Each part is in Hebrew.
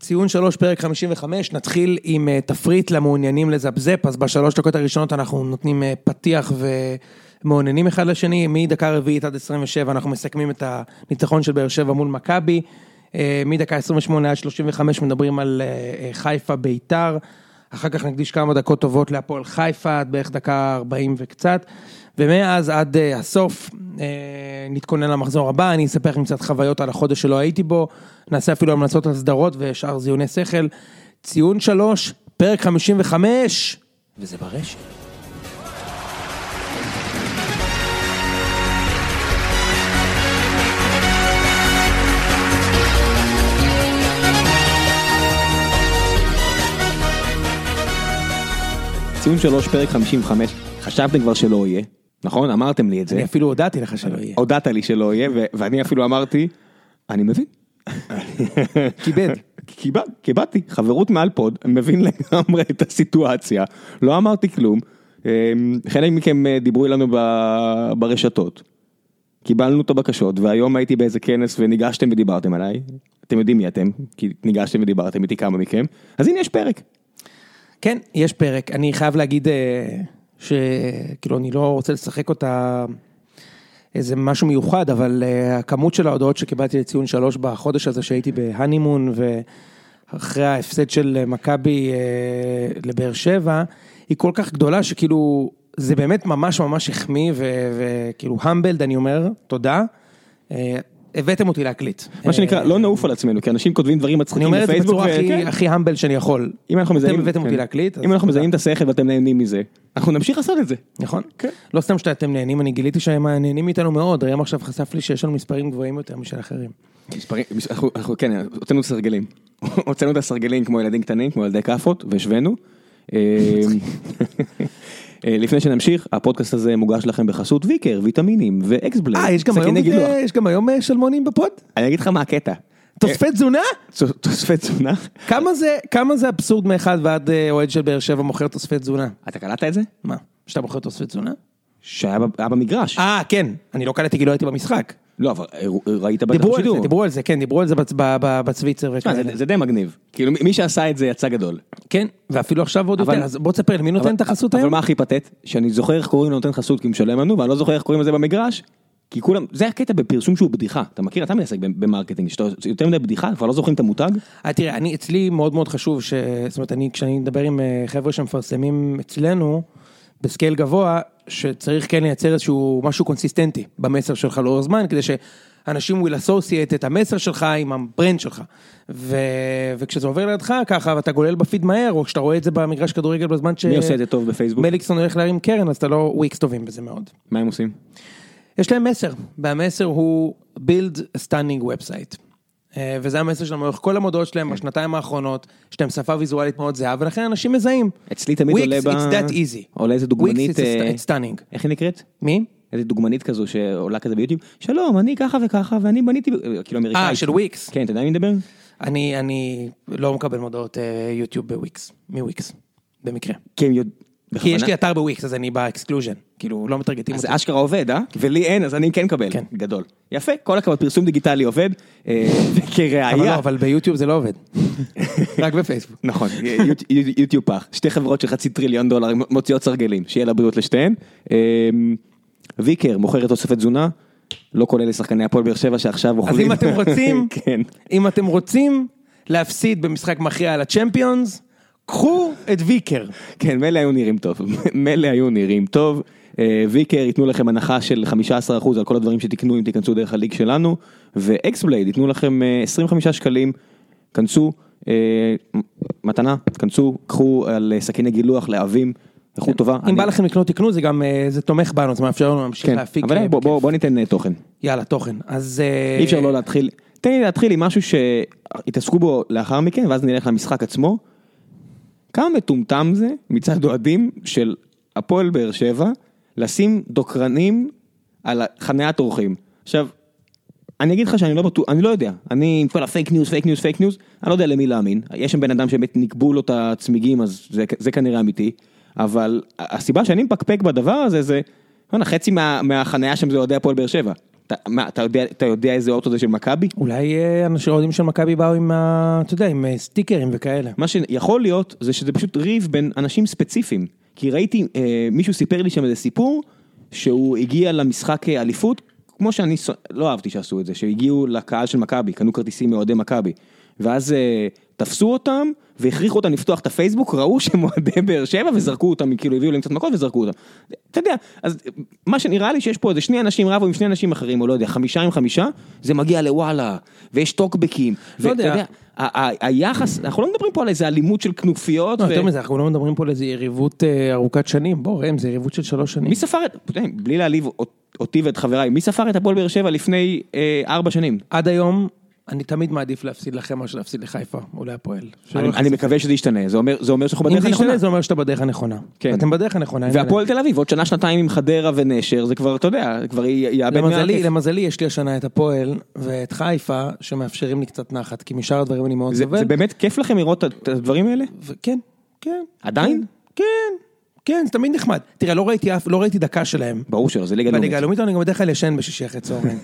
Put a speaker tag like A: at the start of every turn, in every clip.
A: ציון שלוש, פרק 55, נתחיל עם אה, תפריט למעוניינים לזפזפ, אז בשלוש דקות הראשונות אנחנו נותנים אה, פתיח ומעוננים אחד לשני, מדקה רביעית עד 27 אנחנו מסכמים את הניצחון של באר שבע מול מכבי, אה, מדקה 28 עד 35 מדברים על אה, אה, חיפה ביתר, אחר כך נקדיש כמה דקות טובות להפועל חיפה, עד בערך דקה 40 וקצת, ומאז עד אה, הסוף אה, נתכונן למחזור הבא, אני אספר לכם קצת חוויות על החודש שלא הייתי בו, נעשה אפילו המלצות על סדרות ושאר זיוני שכל. ציון שלוש, פרק 55, וזה ברשת.
B: ציון שלוש, פרק 55, חשבתם כבר שלא יהיה, נכון? אמרתם לי את זה.
A: אני אפילו לא הודעתי לך שלא יהיה.
B: הודעת לי שלא יהיה, ו- ואני אפילו אמרתי, אני מבין.
A: כיבד.
B: כיבד, כיבדתי, חברות מעל פוד, מבין לגמרי את הסיטואציה, לא אמרתי כלום, אמ, חלק מכם אה, דיברו אלינו ב- ברשתות, קיבלנו את הבקשות, והיום הייתי באיזה כנס וניגשתם ודיברתם עליי, אתם יודעים מי אתם, כי ניגשתם ודיברתם איתי כמה מכם, אז הנה יש פרק,
A: כן, יש פרק. אני חייב להגיד אה, שכאילו אני לא רוצה לשחק אותה איזה משהו מיוחד, אבל אה, הכמות של ההודעות שקיבלתי לציון שלוש בחודש הזה שהייתי בהנימון ואחרי ההפסד של מכבי אה, לבאר שבע, היא כל כך גדולה שכאילו זה באמת ממש ממש החמיא ו- וכאילו המבלד אני אומר, תודה. אה, הבאתם אותי להקליט. אה,
B: מה שנקרא לא נעוף על עצמנו, כי אנשים כותבים דברים
A: אני
B: מצחיקים
A: אומר את זה
B: בפייסבוק,
A: בצורה
B: ו-
A: הכי-
B: כן.
A: הכי המבל שאני יכול.
B: אם אנחנו מזהים,
A: אתם הבאתם אותי
B: כן.
A: להקליט. אז
B: אם אנחנו
A: תודה.
B: מזהים את השכל ואתם נהנים מזה, אנחנו נמשיך לעשות את זה.
A: נכון?
B: כן.
A: לא סתם שאתם נהנים, אני גיליתי שהם נהנים מאיתנו מאוד, ראם עכשיו חשף לי שיש לנו מספרים גבוהים יותר משל אחרים.
B: מספרים, מס- אנחנו, אנחנו כן, הוצאנו את הסרגלים. הוצאנו את הסרגלים כמו ילדים קטנים, כמו ילדי כאפות, והשווינו. אה, אה, לפני שנמשיך, הפודקאסט הזה מוגש לכם בחסות ויקר, ויטמינים ואקסבלד.
A: אה, יש גם היום
B: סכיני גילוח.
A: יש גם היום אה, שלמונים בפוד?
B: אני אגיד לך מה הקטע.
A: תוספי תזונה?
B: אה, צו- תוספי תזונה.
A: כמה זה, כמה זה אבסורד מאחד ועד אה, אוהד של באר שבע מוכר תוספי תזונה?
B: אתה קלטת את זה?
A: מה? שאתה מוכר תוספי תזונה?
B: שהיה ב- היה במגרש.
A: אה, כן, אני לא קלטתי כי לא הייתי במשחק.
B: לא, אבל אה, ראית בטח
A: דיברו על
B: בשידור.
A: זה, דיברו על זה, כן, דיברו על זה בצ- ב- ב- בצוויצר
B: תשמע,
A: וכאלה.
B: זה- זה די מגניב. כאילו מי- מי שעשה את זה יצא גדול.
A: אה, כן, ואפילו עכשיו עוד
B: אבל-
A: יותר, אז בוא תספר לי, מי נותן
B: אבל-
A: את החסות היום?
B: אבל מה הכי פתט? שאני זוכר איך קוראים לו נותן חסות כי הוא משלם לנו, ואני לא זוכר איך קוראים לזה במגרש. כי כולם, זה הקטע בפרסום שהוא בדיחה, אתה מכיר? אתה מתעסק במרקטינג, שאתה יותר מדי בדיחה, כבר לא זוכרים את המותג?
A: אה, תראה, אני, אצלי מאוד מאוד חשוב, ש... זאת אומרת, אני, כשאני מדבר עם אה, חבר'ה שמפרסמים אצלנו, בסקייל גבוה, שצריך כן לייצר איזשהו משהו קונסיסטנטי במסר שלך לאור זמן, כדי שאנשים will associate את המסר שלך עם הברנד שלך. ו... וכשזה עובר לידך ככה, ואתה גולל בפיד מהר, או כשאתה רואה את זה במגרש כדורגל בזמן ש...
B: מי עושה את זה טוב בפייסבוק?
A: מליקסון הולך להרים קרן, אז אתה לא וויקס טובים בזה מאוד.
B: מה הם עושים?
A: יש להם מסר, והמסר הוא build a standing website. אה, וזה המסר שלהם לאורך כל המודעות
B: כן.
A: שלהם בשנתיים האחרונות, יש להם שפה ויזואלית מאוד זהה, ולכן אנשים מזהים.
B: אצלי תמיד
A: Wix,
B: עולה ב...
A: it's that easy.
B: עולה איזה דוגמנית...
A: Wix, it's a
B: אה,
A: st- it's stunning.
B: איך היא נקראת?
A: מי?
B: איזה דוגמנית כזו שעולה כזה ביוטיוב, שלום, אני ככה וככה, ואני בניתי, אה, כאילו אמריקאית.
A: אה, של וויקס.
B: כן, אתה יודע מי מדבר?
A: אני, אני לא מקבל מודעות אה, יוטיוב בוויקס, מוויקס, במקרה.
B: כי הם יודע...
A: כי יש
B: בכוונה-
A: לי אתר בוויקס, אז אני באקסקלוז'ן, כאילו לא מטרגטים
B: אז
A: אותי.
B: זה אשכרה עובד, אה? ולי אין, אז אני כן מקבל.
A: כן.
B: גדול. יפה, כל הכבוד, פרסום דיגיטלי עובד. אה, וכראיה...
A: אבל לא, אבל ביוטיוב זה לא עובד. רק בפייסבוק.
B: נכון, יוט- יוט- יוטיוב פח. שתי חברות של חצי טריליון דולר מוציאות סרגלים, שיהיה לה בריאות לשתיהן. אה, ויקר מוכרת תוספת תזונה, לא כולל לשחקני הפועל באר שבע שעכשיו אוכלים.
A: אז אם אתם רוצים,
B: אוקיי. כן.
A: אם אתם רוצים להפסיד במשחק מכריע על הצ'מפיונס, קחו את ויקר.
B: כן, מילא היו נראים טוב. מילא היו נראים טוב. אה, ויקר ייתנו לכם הנחה של 15% על כל הדברים שתקנו אם תיכנסו דרך הליג שלנו, ואקסבלייד ייתנו לכם אה, 25 שקלים, כנסו, אה, מ- מתנה, כנסו, קחו על אה, סכיני גילוח להבים, איכות טובה.
A: כן. אם
B: אני-
A: בא לכם לקנות תקנו זה גם אה, זה תומך בנו זה מאפשר לנו להמשיך
B: כן,
A: להפיק
B: אבל
A: אה,
B: בוא- בוא בוא ניתן אה, תוכן,
A: יאללה תוכן אז אה,
B: אי אפשר לא להתחיל, תן לי להתחיל עם משהו שיתעסקו בו לאחר מכן, ואז נלך למשחק עצמו. כמה מטומטם זה מצד אוהדים של הפועל באר שבע לשים דוקרנים על חניית אורחים. עכשיו, אני אגיד לך שאני לא בטוח, אני לא יודע, אני עם כל הפייק ניוז, פייק ניוז, פייק ניוז, אני לא יודע למי להאמין. יש שם בן אדם שבאמת נקבו לו את הצמיגים, אז זה, זה כנראה אמיתי, אבל הסיבה שאני מפקפק בדבר הזה זה, בוא'נה, חצי מה, מהחניה שם זה אוהדי הפועל באר שבע. אתה- מה, אתה יודע- אתה יודע איזה אוטו זה של מכבי?
A: אולי אה, אנשים אוהדים של מכבי באו עם, ה- אתה יודע, עם אה, סטיקרים וכאלה.
B: מה שיכול להיות זה שזה פשוט ריב בין אנשים ספציפיים. כי ראיתי, אה, מישהו סיפר לי שם איזה סיפור, שהוא הגיע למשחק אה, אליפות, כמו שאני ס- לא אהבתי שעשו את זה, שהגיעו לקהל של מכבי, קנו כרטיסים מאוהדי מכבי. ואז אה, תפסו אותם והכריחו אותם לפתוח את הפייסבוק, ראו שהם אוהדי באר שבע וזרקו אותם, כאילו הביאו להם קצת מכות וזרקו אותם. אתה יודע, אז אה, מה שנראה לי שיש פה איזה שני אנשים רבו עם שני אנשים אחרים, או לא יודע, חמישה עם חמישה, זה מגיע לוואלה, ויש טוקבקים.
A: לא יודע.
B: ואתה יודע, ה- ה- היחס, אנחנו לא מדברים פה על איזה אלימות של כנופיות.
A: לא,
B: ו-
A: יותר מזה, אנחנו לא מדברים פה על איזו יריבות אה, ארוכת שנים, בוא ראם, זה יריבות של שלוש שנים.
B: מי ספר את, אתה יודע, בלי להעליב אות- אותי ואת חבריי, מי ספר את הפועל באר שבע לפני אה, ארבע שנים?
A: עד היום, אני תמיד מעדיף להפסיד לכם מאשר להפסיד לחיפה, או להפועל. שלא
B: אני
A: יחס-
B: אני מקווה שזה ישתנה, זה אומר זה אומר שאנחנו
A: אם
B: בדרך
A: זה
B: הנכונה.
A: ישתנה, זה אומר שאתה בדרך הנכונה.
B: כן.
A: אתם בדרך הנכונה. אין
B: והפועל תל אביב, עוד שנה שנתיים עם חדרה ונשר, זה כבר, אתה יודע, זה כבר י-
A: מה
B: יאבד
A: לעשות. למזלי,
B: מהכיף.
A: למזלי, יש לי השנה את הפועל ואת חיפה, שמאפשרים לי קצת נחת, כי משאר הדברים אני מאוד
B: זה
A: סובל.
B: זה באמת כיף לכם לראות את- את הדברים האלה?
A: וכן, כן.
B: עדיין?
A: כן, כן, זה תמיד נחמד. תראה, לא ראיתי אף, לא ראיתי דקה שלהם.
B: ברור שלא, זה ליגה לאומית.
A: בליגה הלאומית, אני גם בדרך כלל ישן בשישי אחרי צהריים.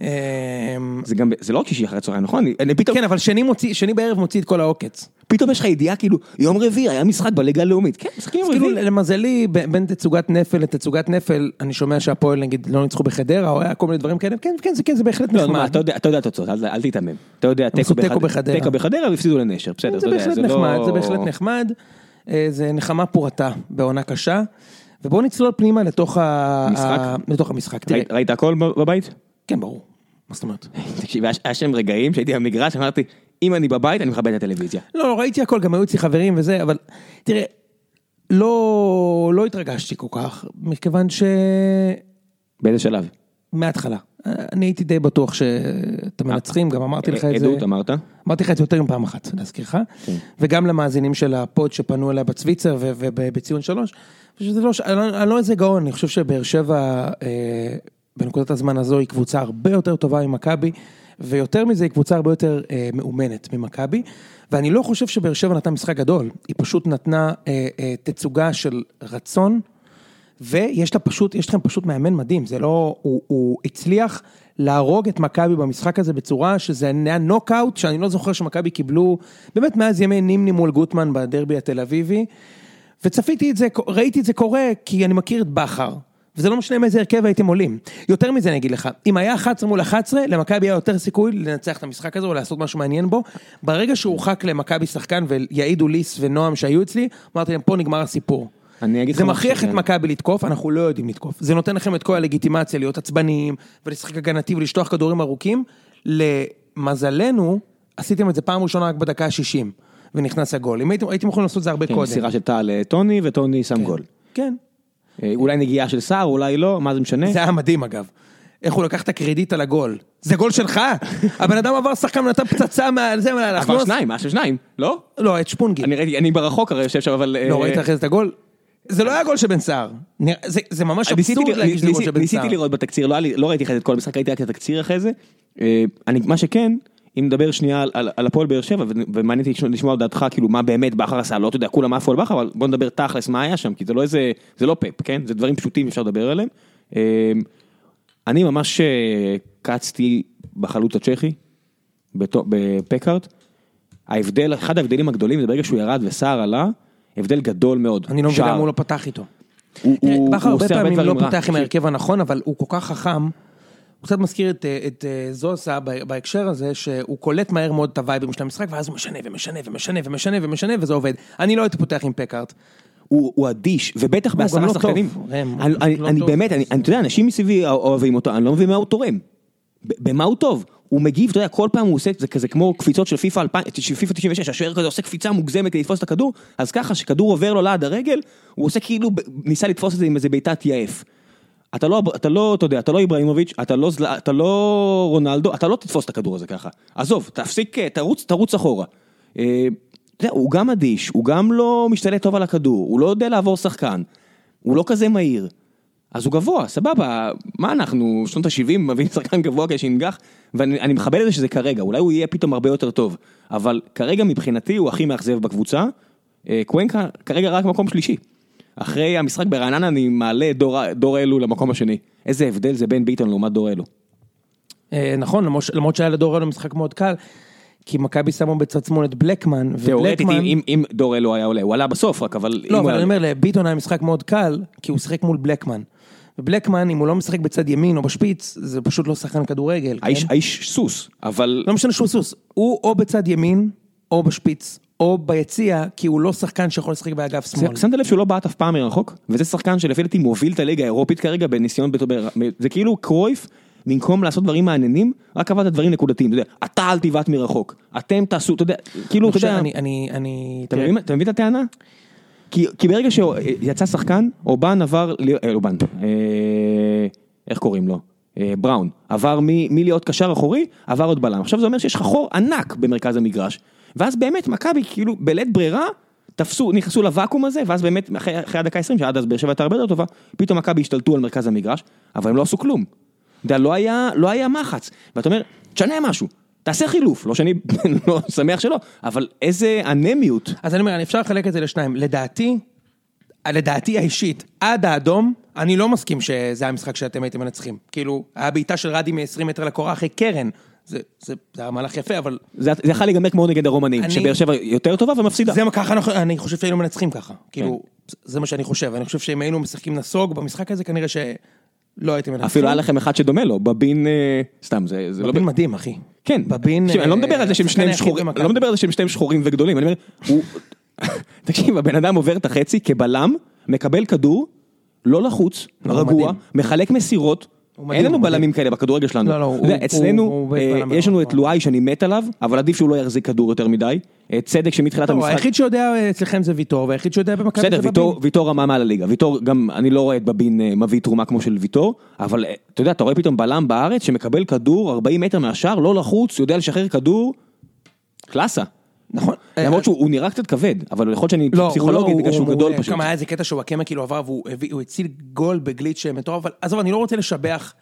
A: אמ,
B: זה גם, ב- זה לא רק שישי אחרי הצהריים, נכון? אני- אני פתאום,
A: כן, אבל שני מוציא, שני בערב מוציא את כל העוקץ.
B: פתאום יש לך ידיעה כאילו, יום רביעי היה משחק בליגה הלאומית. כן, משחקים
A: אז
B: יום
A: כאילו,
B: רביעי.
A: למזלי, ב- בין תצוגת נפל לתצוגת נפל, אני שומע שהפועל נגיד לא ניצחו בחדרה, או היה כל מיני דברים כאלה, כן, כן, זה כן, זה בהחלט
B: לא, נו,
A: נחמד.
B: אתה יודע אתה יודע את התוצאות, אל אל תיתמם. אתה יודע,
A: עשו תיקו
B: בחד-
A: בחדרה.
B: תיקו בחדרה והפסידו לנשר, בסדר, אתה
A: זה
B: יודע,
A: בהחלט
B: זה לא...
A: נחמד, זה בהחלט נחמד. אה, זה נחמה פורתה בעונה קשה. ובואו נצלול פנימה לתוך ה-
B: משחק?
A: ה- לתוך המשחק. תראה,
B: ראית- ראית הכל ב- בבית?
A: כן, ברור. מה זאת אומרת?
B: תקשיב, היה- היה שם רגעים שהייתי במגרש, אמרתי, אם אני בבית, אני מכבד את הטלוויזיה.
A: לא, לא, ראיתי הכל, גם היו אצלי חברים וזה, אבל תראה, לא, לא התרגשתי כל כך, מכיוון שמההתחלה,
B: באיזה שלב?
A: אה, אני הייתי די בטוח שאתם מנצחים, גם אמרתי לך את זה,
B: אה, עדות אמרת?
A: אמרתי לך את זה יותר מפעם אחת, להזכירך, וגם למאזינים של הפוד שפנו אליה בצוויצר ו- ובציון שלוש, שזה לא, ש- אני לא- אני לא איזה גאון, אני חושב שבאר שבע, אה, בנקודת הזמן הזו, היא קבוצה הרבה יותר טובה ממכבי. ויותר מזה, היא קבוצה הרבה יותר אה, מאומנת ממכבי, ואני לא חושב שבאר שבע נתנה משחק גדול, היא פשוט נתנה אה, אה, תצוגה של רצון, ויש לה פשוט, יש לכם פשוט מאמן מדהים, זה לא, הוא, הוא הצליח להרוג את מכבי במשחק הזה בצורה שזה היה נוקאוט, שאני לא זוכר שמכבי קיבלו, באמת מאז ימי נימני מול גוטמן בדרבי התל אביבי, וצפיתי את זה, ראיתי את זה קורה, כי אני מכיר את בכר. וזה לא משנה מאיזה הרכב הייתם עולים. יותר מזה אני אגיד לך, אם היה 11 מול 11, למכבי היה יותר סיכוי לנצח את המשחק הזה או לעשות משהו מעניין בו. ברגע שהורחק למכבי שחקן ויעידו ליס ונועם שהיו אצלי, אמרתי להם פה נגמר הסיפור.
B: אני אגיד לך
A: זה
B: משהו,
A: מכריח את
B: כן.
A: מכבי לתקוף, אנחנו לא יודעים לתקוף. זה נותן לכם את כל הלגיטימציה להיות עצבניים, ולשחק הגנתי ולשטוח כדורים ארוכים. למזלנו, עשיתם את זה פעם ראשונה רק בדקה ה-60, ונכנס הגול. אם הייתם, הייתם יכולים לעשות את זה הרבה
B: כן,
A: קודם.
B: מסירה של טל לטוני, וטוני שם גול.
A: כן.
B: אה, אולי נגיעה של סער, אולי לא, מה זה משנה?
A: זה היה מדהים אגב. איך הוא לקח את הקרדיט על הגול. זה גול שלך? הבן אדם עבר שחקן ונתן פצצה מעל זה, מעל
B: עבר
A: האלכלוס.
B: שניים, היה של שניים, לא?
A: לא, את שפונגי.
B: אני ראיתי, אני ברחוק הרי יושב שם, אבל... אה,
A: לא, ראית אחרי זה את הגול? זה לא היה גול של בן סער. נראה- זה- זה ממש
B: ניסיתי
A: אבסורד
B: לראות-
A: להגיד שזה גול
B: ניסיתי-
A: של בן סער.
B: ניסיתי לראות בתקציר, לא היה לי- לא ראיתי אחרי זה את כל המשחק, ראיתי רק את התקציר אחרי זה. אה, אני, מה שכן, אם נדבר שנייה על- על על הפועל באר שבע, ו- ומעניין אותי לשמוע את דעתך, כאילו מה באמת בכר עשה, לא אתה יודע, כולם עפו על בכר, אבל בוא נדבר תכלס מה היה שם, כי זה לא איזה, זה לא פאפ, כן? זה דברים פשוטים אפשר לדבר עליהם. אה, אני ממש אה, קצתי בחלוץ הצ'כי, בתו- בפקארט. ההבדל, אחד ההבדלים הגדולים זה ברגע שהוא ירד וסער עלה, הבדל גדול מאוד.
A: אני לא מבין
B: שער.
A: למה הוא לא פתח איתו.
B: הוא-
A: תראה,
B: הוא-
A: בכר
B: הוא
A: הרבה
B: עושה
A: פעמים לא
B: דברים רע.
A: פותח עם ההרכב הנכון, אבל הוא כל כך חכם. הוא קצת מזכיר את, אה, את אה, זוסה ב- בהקשר הזה, שהוא קולט מהר מאוד את הווייבים של המשחק, ואז הוא משנה ומשנה ומשנה ומשנה ומשנה, וזה עובד. אני לא הייתי פותח עם פקארט.
B: הוא, הוא אדיש, ובטח
A: גם
B: בעשרה
A: לא
B: שחקנים.
A: טוב, ראם,
B: אני,
A: הוא
B: אני,
A: לא
B: אני
A: טוב.
B: באמת, אני, אני, אתה יודע, אנשים מסביבי אוהבים אותו, אני לא מבין מה הוא תורם. ב- במה הוא טוב? הוא מגיב, אתה יודע, כל פעם הוא עושה, זה כזה כמו קפיצות של פיפא 96, השוער כזה עושה קפיצה מוגזמת כדי לתפוס את הכדור, אז ככה, שכדור עובר לו ליד הרגל, הוא עושה כאילו, ב- ניסה לתפוס את זה עם איזה בעיטת יעף. אתה לא, אתה לא, אתה יודע, אתה לא איבראימוביץ', אתה לא, זל- אתה לא רונלדו, אתה לא תתפוס את הכדור הזה ככה. עזוב, תפסיק, אה, תרוץ, תרוץ אחורה. אה, אתה יודע, הוא גם אדיש, הוא גם לא משתלט טוב על הכדור, הוא לא יודע לעבור שחקן, הוא לא כזה מהיר. אז הוא גבוה, סבבה, מה אנחנו, שנות ה-70 מביאים שחקן גבוה כדי שינגח? ואני אני מכבד את זה שזה כרגע, אולי הוא יהיה פתאום הרבה יותר טוב. אבל כרגע מבחינתי הוא הכי מאכזב בקבוצה. אה, קוונקה כרגע רק מקום שלישי. אחרי המשחק ברעננה אני מעלה את דור, דור אלו למקום השני. איזה הבדל זה בין ביטון לעומת דור אלו.
A: אה, נכון, למרות ש- למרות שהיה לדור אלו משחק מאוד קל, כי מכבי שמו בצד שמאל את בלקמן,
B: תיאורטית,
A: ובלקמן-
B: אם- אם- אם דור אלו היה עולה, הוא עלה בסוף רק, אבל... אם
A: לא,
B: הוא
A: אבל
B: היה-
A: אני אומר, לביטון היה משחק מאוד קל, כי הוא שיחק מול בלקמן. ובלקמן, אם הוא לא משחק בצד ימין או בשפיץ, זה פשוט לא שחקן כדורגל. כן?
B: האיש- האיש סוס, אבל...
A: לא משנה שהוא סוס, הוא או בצד ימין, או בשפיץ, או ביציע, כי הוא לא שחקן שיכול לשחק באגף שמאל.
B: שמת לב שהוא לא בעט אף פעם מרחוק? וזה שחקן שלפי דעתי מוביל את הליגה האירופית כרגע בניסיון, בתור- ב- ב- זה כאילו קרויף, במקום לעשות דברים מעניינים, רק עבד את דברים נקודתיים, אתה יודע, אתה אל תבעט מרחוק, אתם תעשו, אתה יודע, כאילו, אתה
A: עכשיו,
B: יודע,
A: אני, אני, אני, כן.
B: אתה מבין- אתה מבין את הטענה? כי כי ברגע שיצא שחקן, אובן עבר, ל- אה, אובן, אה, איך קוראים לו? אה, בראון, עבר מ- מלהיות קשר אחורי, עבר עוד בלם. עכשיו זה אומר שיש לך חור ענק במרכז המגרש, ואז באמת מכבי כאילו בלית ברירה, תפסו, נכנסו לוואקום הזה, ואז באמת אחרי אחרי הדקה 20, שעד אז באר שבע הייתה הרבה יותר טובה, פתאום מכבי השתלטו על מרכז המגרש, אבל הם לא עשו כלום. אתה יודע, לא היה, לא היה מחץ, ואתה אומר, תשנה משהו, תעשה חילוף, לא שאני לא שמח שלא, אבל איזה אנמיות.
A: אז אני אומר, אני אפשר לחלק את זה לשניים. לדעתי, לדעתי האישית, עד האדום, אני לא מסכים שזה המשחק שאתם הייתם מנצחים. כאילו, היה בעיטה של רדי מ-20 מטר לקורה אחרי קרן. זה, זה, זה היה מהלך יפה, אבל
B: זה זה יכול להיגמר כמו נגד הרומנים,
A: אני-
B: שבאר שבע יותר טובה ומפסידה.
A: זה מה ככה, אנחנו- אני חושב שהיינו מנצחים ככה.
B: כן.
A: כאילו, זה מה שאני חושב. אני חושב שאם היינו משחקים נסוג במשחק הזה, כנראה שלא הייתם מנצחים.
B: אפילו היה לכם אחד שדומה לו, בבין, אה, סתם, זה זה לא...
A: בבין
B: ב-
A: מדהים, אחי.
B: כן,
A: בבין...
B: תקשיב, אני לא
A: אה,
B: מדבר על זה שהם
A: השחקן
B: שניהם
A: היחיד
B: שחורים,
A: במכבי.
B: לא מדבר על זה שהם שניהם שחורים וגדולים, אני אומר, הוא... תקשיב, הבן אדם עובר את החצי כבלם, מקבל כדור, לא לחוץ,
A: לא,
B: רגוע,
A: מדהים.
B: מחלק מסירות.
A: הוא מדהים,
B: אין לנו
A: הוא
B: בלמים
A: מדהים.
B: כאלה בכדורגל שלנו.
A: לא, לא, הוא-
B: אתה יודע,
A: הוא-
B: אצלנו,
A: הוא
B: אה,
A: בלם
B: יש לנו את
A: מאוד.
B: לואי שאני מת עליו, אבל עדיף שהוא לא יחזיק כדור יותר מדי. אה, צדק שמתחילת
A: לא,
B: המשחק...
A: היחיד שיודע אה, אצלכם זה ויטור, והיחיד שיודע במכבי זה
B: בסדר,
A: בבין.
B: ויטור, ויטור רמה מעל הליגה, ויטור גם, אני לא רואה את בבין אה, מביא תרומה כמו של ויטור, אבל אה, אתה יודע, אתה רואה פתאום בלם בארץ שמקבל כדור 40 מטר מהשאר, לא לחוץ, יודע לשחרר כדור, קלאסה.
A: נכון.
B: למרות שהוא הוא נראה קצת כבד, אבל יכול להיות שאני
A: לא,
B: פסיכולוגית,
A: הוא לא,
B: בגלל
A: הוא-
B: שהוא
A: הוא
B: גדול
A: מעולה.
B: פשוט.
A: גם היה איזה קטע שוואקמה כאילו עבר והוא הביא- הוא הציל גול בגליץ' מטורף, אבל עזוב, אני לא רוצה לשבח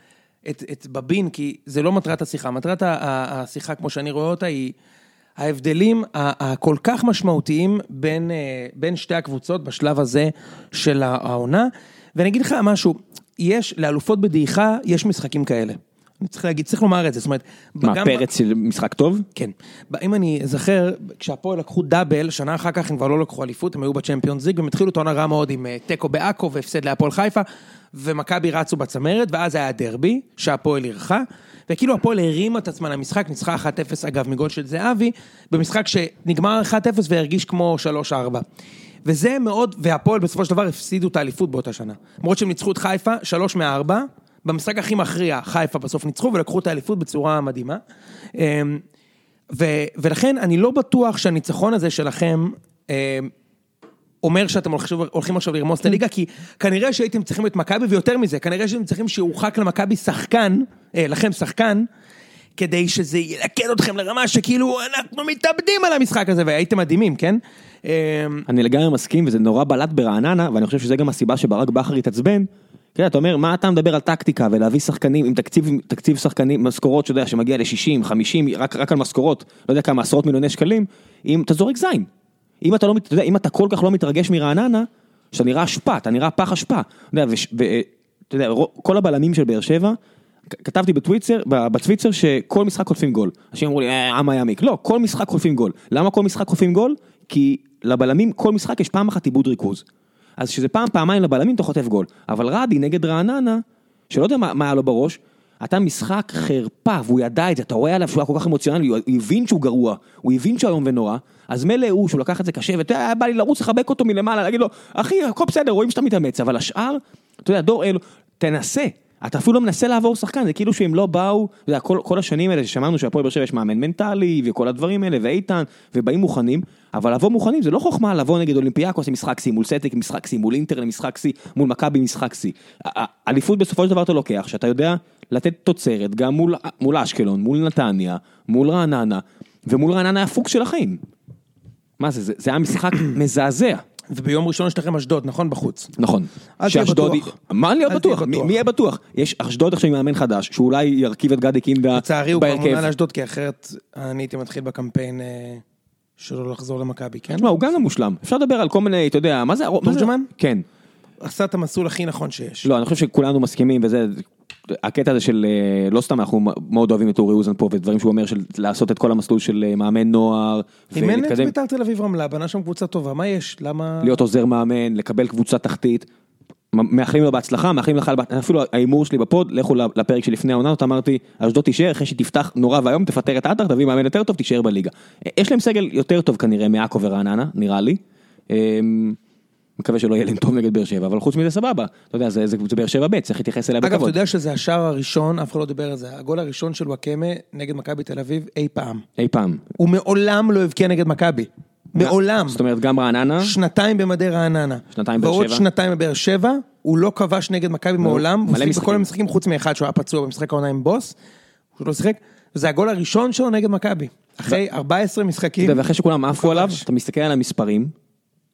A: את, את בבין, כי זה לא מטרת השיחה. מטרת ה- ה- השיחה, כמו שאני רואה אותה, היא ההבדלים ה- הכל כך משמעותיים בין, אה, בין שתי הקבוצות בשלב הזה של העונה. ואני אגיד לך משהו, יש, לאלופות בדעיכה, יש משחקים כאלה. אני צריך להגיד, צריך לומר את זה, זאת אומרת...
B: מה,
A: גם-
B: פרץ של משחק טוב?
A: כן. ב- אם אני אזכר, כשהפועל לקחו דאבל, שנה אחר כך הם כבר לא לקחו אליפות, הם היו בצ'מפיונס ליג, והם התחילו את העונה רעה מאוד עם אה, תיקו בעכו והפסד להפועל חיפה, ומכבי רצו בצמרת, ואז היה הדרבי, שהפועל אירחה, וכאילו הפועל הרימה את עצמה למשחק, ניצחה 1-0 אגב מגול של זהבי, במשחק שנגמר 1-0 והרגיש כמו 3-4. וזה מאוד, והפועל בסופו של דבר הפסידו את האליפות באותה שנה. למרות שהם ניצחו את חיפה, 3 מ-4, במשחק הכי מכריע, חיפה בסוף ניצחו ולקחו את האליפות בצורה מדהימה. אמ, ו- ולכן אני לא בטוח שהניצחון הזה שלכם אה, אומר שאתם הולכים, הולכים עכשיו לרמוס את הליגה, כי כנראה שהייתם צריכים את מכבי, ויותר מזה, כנראה שהייתם צריכים שיורחק למכבי שחקן, אה, לכם שחקן, כדי שזה ילכד אתכם לרמה שכאילו אנחנו מתאבדים על המשחק הזה, והייתם מדהימים, כן? אה,
B: אני לגמרי מסכים, וזה נורא בלט ברעננה, ואני חושב שזה גם הסיבה שברק בכר התעצבן. כן, אתה יודע, אתה אומר, מה אתה מדבר על טקטיקה ולהביא שחקנים עם תקציב, עם תקציב שחקנים, משכורות, שאתה יודע, שמגיע ל-60, 50, רק, רק על משכורות, לא יודע כמה עשרות מיליוני שקלים, אם אתה זורק זין. אם אתה, לא, מת- אתה יודע, אם אתה כל כך לא מתרגש מרעננה, שאתה נראה אשפה, אתה נראה פח אשפה. אתה יודע, וש- ו- אה, אתה יודע, רו- כל הבלמים של באר שבע, כ- כתבתי בטוויצר, ב- בטוויצר שכל משחק חוטפים גול. אנשים אמרו לי, אה, עם היה מיק. לא, כל משחק חוטפים גול. למה כל משחק חוטפים גול? כי לבלמים, כל משחק יש פעם אחת איבוד ריכוז. אז שזה פעם, פעמיים לבלמים אתה חוטף גול. אבל רדי נגד רעננה, שלא יודע מה, מה היה לו בראש, אתה משחק חרפה, והוא ידע את זה, אתה רואה עליו שהוא היה כל כך אמוציונלי, הוא הבין שהוא גרוע, הוא הבין שהוא איום ונורא, אז מילא הוא, שהוא לקח את זה קשה, ואתה יודע, היה בא לי לרוץ לחבק אותו מלמעלה, להגיד לו, אחי, הכל בסדר, רואים שאתה מתאמץ, אבל השאר, אתה יודע, דור אלו, תנסה. אתה אפילו לא מנסה לעבור שחקן, זה כאילו שהם לא באו, אתה יודע, כל, כל השנים האלה ששמענו שהפועל באר שבע יש מאמן מנטלי, וכל הדברים האלה, ואיתן, ובאים מוכנים, אבל לבוא מוכנים זה לא חוכמה לבוא נגד אולימפיאקוס למשחק שיא, מול סטק למשחק שיא, מול אינטר למשחק שיא, מול מכבי משחק שיא. ה- ה- אליפות בסופו של דבר אתה לוקח, שאתה יודע לתת תוצרת גם מול, מול אשקלון, מול נתניה, מול רעננה, ומול רעננה הפוקס של החיים. מה זה, זה, זה היה משחק מזעזע.
A: וביום ראשון יש לכם אשדוד, נכון? בחוץ.
B: נכון.
A: אל תהיה
B: שאשדוד
A: בטוח.
B: היא- מה להיות
A: אל תהיה
B: בטוח? מי
A: בטוח.
B: מי יהיה בטוח? יש אשדוד עכשיו עם מאמן חדש, שאולי ירכיב את גדי קינדה
A: לצערי הוא כבר מונה
B: בהרכב.
A: לאשדוד, כי אחרת אני הייתי מתחיל בקמפיין אה, שלו לחזור למכבי, כן?
B: תשמע, הוא גם לא מושלם. אפשר לדבר על כל מיני, אתה יודע, מה זה... מה זה-
A: תורג'מן?
B: כן.
A: עשה את המסלול הכי נכון שיש.
B: לא, אני חושב שכולנו מסכימים וזה... הקטע הזה של אה, לא סתם אנחנו מאוד אוהבים את אורי אוזן פה ודברים שהוא אומר של לעשות את כל המסלול של אה, מאמן נוער,
A: אימן את בית"ר תל אביב רמלה, בנה שם קבוצה טובה, מה יש? למה...
B: להיות עוזר מאמן, לקבל קבוצה תחתית. מ- מאחלים לו בהצלחה, מאחלים לך, בה- אפילו ההימור שלי בפוד, לכו לפרק שלפני העונה, זאת אמרתי, אשדוד תישאר אחרי שתפתח נורא ואיום, תפטר את עטר, תביא מאמן יותר טוב, תישאר בליגה. יש להם סגל יותר טוב כנראה מעכו ורעננה, נראה לי. אמ, מקווה שלא יהיה להם טוב נגד באר שבע, אבל חוץ מזה סבבה. אתה יודע, זה, זה, זה באר שבע ב', צריך להתייחס אליה
A: אגב, אתה
B: בכבוד.
A: יודע שזה השער הראשון, אף אחד לא דיבר על זה, הגול הראשון של וואקמה נגד מכבי תל אביב אי פעם.
B: אי פעם.
A: הוא מעולם לא הבקיע נגד מכבי. מעולם.
B: זאת אומרת, גם רעננה,
A: שנתיים במדי רעננה.
B: שנתיים באר
A: ועוד
B: שבע.
A: שנתיים בבאר שבע, הוא לא כבש נגד מכבי מעולם. הוא
B: מלא
A: שיחק
B: משחקים.
A: בכל המשחקים חוץ מאחד שהוא היה פצוע במשחק העונה עם בוס. הוא לא שיחק. זה הגול הראשון שלו נגד מכבי. אחרי 14 משחקים,
B: אתה יודע, ואחרי שכולם עפו עליו,
A: כבש.
B: אתה מסתכל על המספרים,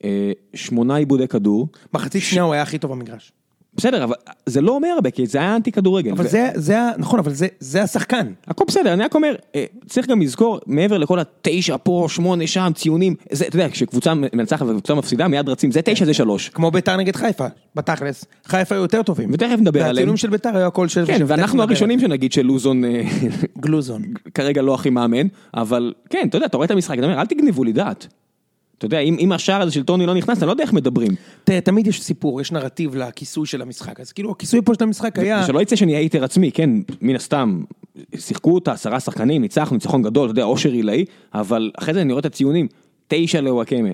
B: אה, שמונה עיבודי כדור,
A: מחצית שנייה הוא היה הכי טוב במגרש.
B: בסדר, אבל זה לא אומר הרבה, כי זה היה אנטי כדורגל.
A: אבל
B: ו-
A: זה, זה, ה- נכון, אבל זה, זה השחקן.
B: הכל בסדר, אני רק אומר, אה, צריך גם לזכור, מעבר לכל התשע פה, שמונה שם, ציונים, זה, אתה יודע, כשקבוצה מנצחת וקבוצה מפסידה, מיד רצים, זה תשע, זה שלוש.
A: כמו ביתר נגד חיפה, בתכלס. חיפה היו יותר טובים.
B: ותכף נדבר עליהם.
A: והצילום של ביתר היה הכל של...
B: כן,
A: ושל- תכף
B: ואנחנו
A: נדבר
B: הראשונים
A: על
B: שנגיד שלוזון אה,
A: זה. גלוזון.
B: כרגע לא הכי מאמן, אבל כן, אתה יודע, אתה רואה את המשחק, אתה אומר, אל תגנבו לי דעת. אתה יודע, אם, אם השער הזה של טוני לא נכנס, אני לא יודע איך מדברים.
A: תראה, תמיד יש סיפור, יש נרטיב לכיסוי של המשחק. אז כאילו, הכיסוי פה של המשחק היה...
B: שלא יצא שאני הייטר עצמי, כן, מן הסתם, שיחקו אותה עשרה שחקנים, ניצחנו, ניצחון גדול, אתה יודע, אושר עילאי, אבל אחרי זה אני רואה את הציונים, תשע לוואקמה.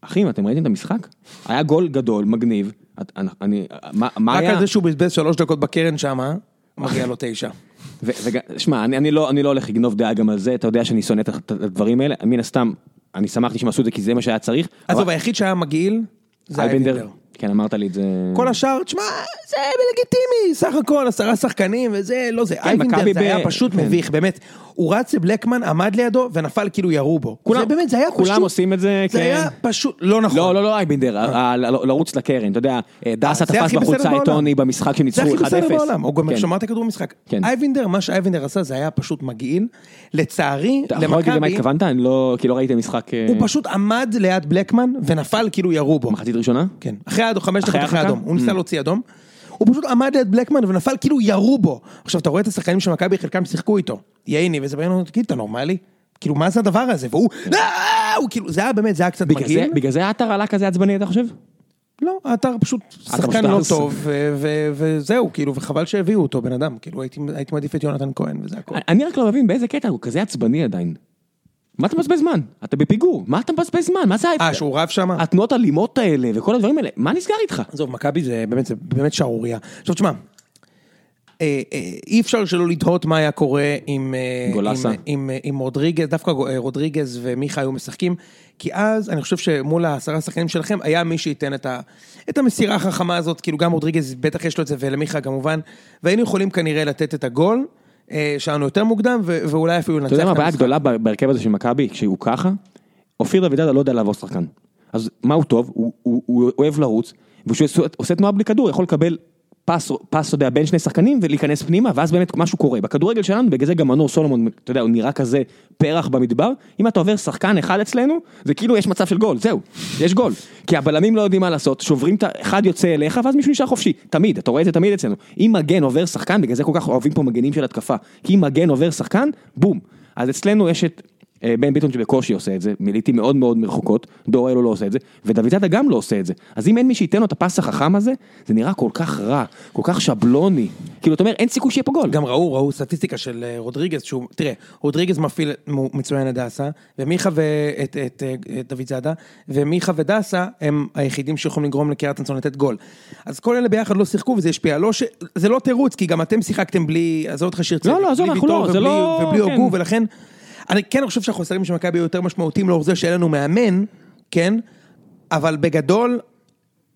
B: אחים, אתם ראיתם את המשחק? היה גול גדול, מגניב, את- אני- אני, מה- מה
A: רק
B: היה?
A: על זה שהוא בזבז שלוש דקות בקרן שמה, מגיע לו תשע.
B: ו- וג- שמע, אני, אני, לא, אני לא הולך לגנוב דעה גם על זה, אתה יודע שאני שונא את את הדברים האלה, מן הסתם, אני שמחתי שהם עשו את זה כי זה מה שהיה צריך.
A: עזוב,
B: אבל-
A: היחיד שהיה מגעיל, זה היה
B: אייבנדר.
A: בנדר.
B: כן, אמרת לי את זה.
A: כל השאר, תשמע, זה לגיטימי, סך הכל עשרה שחקנים וזה, לא זה.
B: מכבי
A: אייבנדר
B: ב-
A: זה היה פשוט
B: כן.
A: מביך, באמת. הוא רץ לבלקמן, עמד לידו ונפל כאילו ירו בו.
B: כולם-
A: זה באמת, זה היה פשוט...
B: כולם עושים את זה,
A: זה
B: כן.
A: היה פשוט, לא נכון.
B: לא, לא, לא אייבנדר, ה- ה- לרוץ לקרן, אתה יודע, אה, דסה
A: זה
B: תפס
A: הכי בסדר
B: בחולצה את
A: בעולם.
B: טוני במשחק
A: זה
B: שניצחו 1-0.
A: הכי בסדר בעולם, הוא גם
B: כן.
A: שמר את הכדור במשחק.
B: כן.
A: אייבנדר, מה שאייבנדר עשה זה היה פשוט מגעיל. לצערי,
B: אתה יכול להגיד למה
A: למכבי,
B: התכוונת? אני לא, כי לא ראיתי משחק...
A: הוא פשוט עמד ליד בלקמן ונפל כאילו ירו בו.
B: מחצית ראשונה?
A: כן, אחרי האדום, חמש
B: אחרי Mm.
A: דקות אחרי
B: ההרחקה?
A: האדום, הוא ניסה להוציא אדום. הוא פשוט עמד ליד בלקמן ונפל כאילו ירו בו. עכשיו, אתה רואה את השחקנים של מכבי, חלקם שיחקו איתו. ייני וזה בעניין, תגיד, אתה נורמלי? כאילו, מה זה הדבר הזה? והוא, "אה!" הוא כאילו, זה היה באמת, זה היה קצת
B: כן. בגלל זה-
A: מגעיל.
B: בגלל זה עטר עלה כזה עצבני, אתה חושב?
A: לא, האתר פשוט
B: פשוט
A: שחקן לא
B: הרס.
A: טוב, ו- ו- וזהו, כאילו, וחבל שהביאו אותו, בן אדם. כאילו, הייתי הייתי מעדיף את יונתן כהן, וזה הכול.
B: אני- אני רק לא מבין באיזה קטע הוא כזה עצבני עדיין. מה אתה מבזבז זמן? אתה בפיגור, מה אתה מבזבז זמן? מה זה ה-
A: אה, שהוא רב שם?
B: התנועות האלימות האלה וכל הדברים האלה, מה נסגר איתך?
A: עזוב, מכבי זה באמת, זה באמת שערורייה. עכשיו תשמע, אה, אה, אי אפשר שלא לתהות מה היה קורה אם... אה,
B: גולסה.
A: אם, עם, אה, עם רודריגז, דווקא אה, רודריגז ומיכה היו משחקים, כי אז אני חושב שמול העשרה שחקנים שלכם היה מי שייתן את, ה, את המסירה החכמה הזאת, כאילו גם רודריגז בטח יש לו את זה, ולמיכה כמובן, והיינו יכולים כנראה לתת את הגול. אה, שלנו יותר מוקדם, ו- ואולי אפילו לנצח
B: אתה יודע מה
A: את
B: הבעיה
A: המשחק.
B: הגדולה ב- בהרכב הזה של מכבי, כשהוא ככה? אופיר דוידדה לא יודע לעבור שחקן. אז מה הוא טוב? הוא- הוא הוא אוהב לרוץ, וכשהוא עושה- עושה תנועה בלי כדור, יכול לקבל פס, פס, אתה יודע, בין שני שחקנים ולהיכנס פנימה, ואז באמת משהו קורה. בכדורגל שלנו, בגלל זה גם מנור סולומון, אתה יודע, הוא נראה כזה פרח במדבר. אם אתה עובר שחקן אחד אצלנו, זה כאילו יש מצב של גול, זהו, יש גול. כי הבלמים לא יודעים מה לעשות, שוברים את ה... אחד יוצא אליך, ואז מישהו נשאר חופשי. תמיד, אתה רואה את זה תמיד אצלנו. אם מגן עובר שחקן, בגלל זה כל כך אוהבים פה מגנים של התקפה. כי אם מגן עובר שחקן, בום. אז אצלנו יש את אה, בן ביטון שבקושי עושה את זה, מליטים מאוד מאוד מרחוקות, דור אלו לא עושה את זה, ודוד זאדה גם לא עושה את זה. אז אם אין מי שייתן לו את הפס החכם הזה, זה נראה כל כך רע, כל כך שבלוני. כאילו, אתה אומר, אין סיכוי שיהיה פה גול.
A: גם ראו, ראו סטטיסטיקה של אה, רודריגז, שהוא, תראה, רודריגז מפעיל מ- מצוין את דסה, ומיכה ואת את, את, אה, את דוד זאדה, ומיכה ודסה הם היחידים שיכולים לגרום לקריאטנסון לתת גול. אז כל אלה ביחד לא שיחקו וזה השפיע, לא ש... זה לא תירוץ, כי גם אתם שיחקתם בלי, עזוב אותך שיר צדק,
B: לא, עזוב,
A: בלי
B: אנחנו
A: ויטור
B: לא, זה
A: ובלי,
B: לא-
A: ובלי
B: כן.
A: הוגו, ולכן, אני כן חושב שהחוסרים של מכבי היו יותר משמעותיים לאור זה שאין לנו מאמן, כן, אבל בגדול,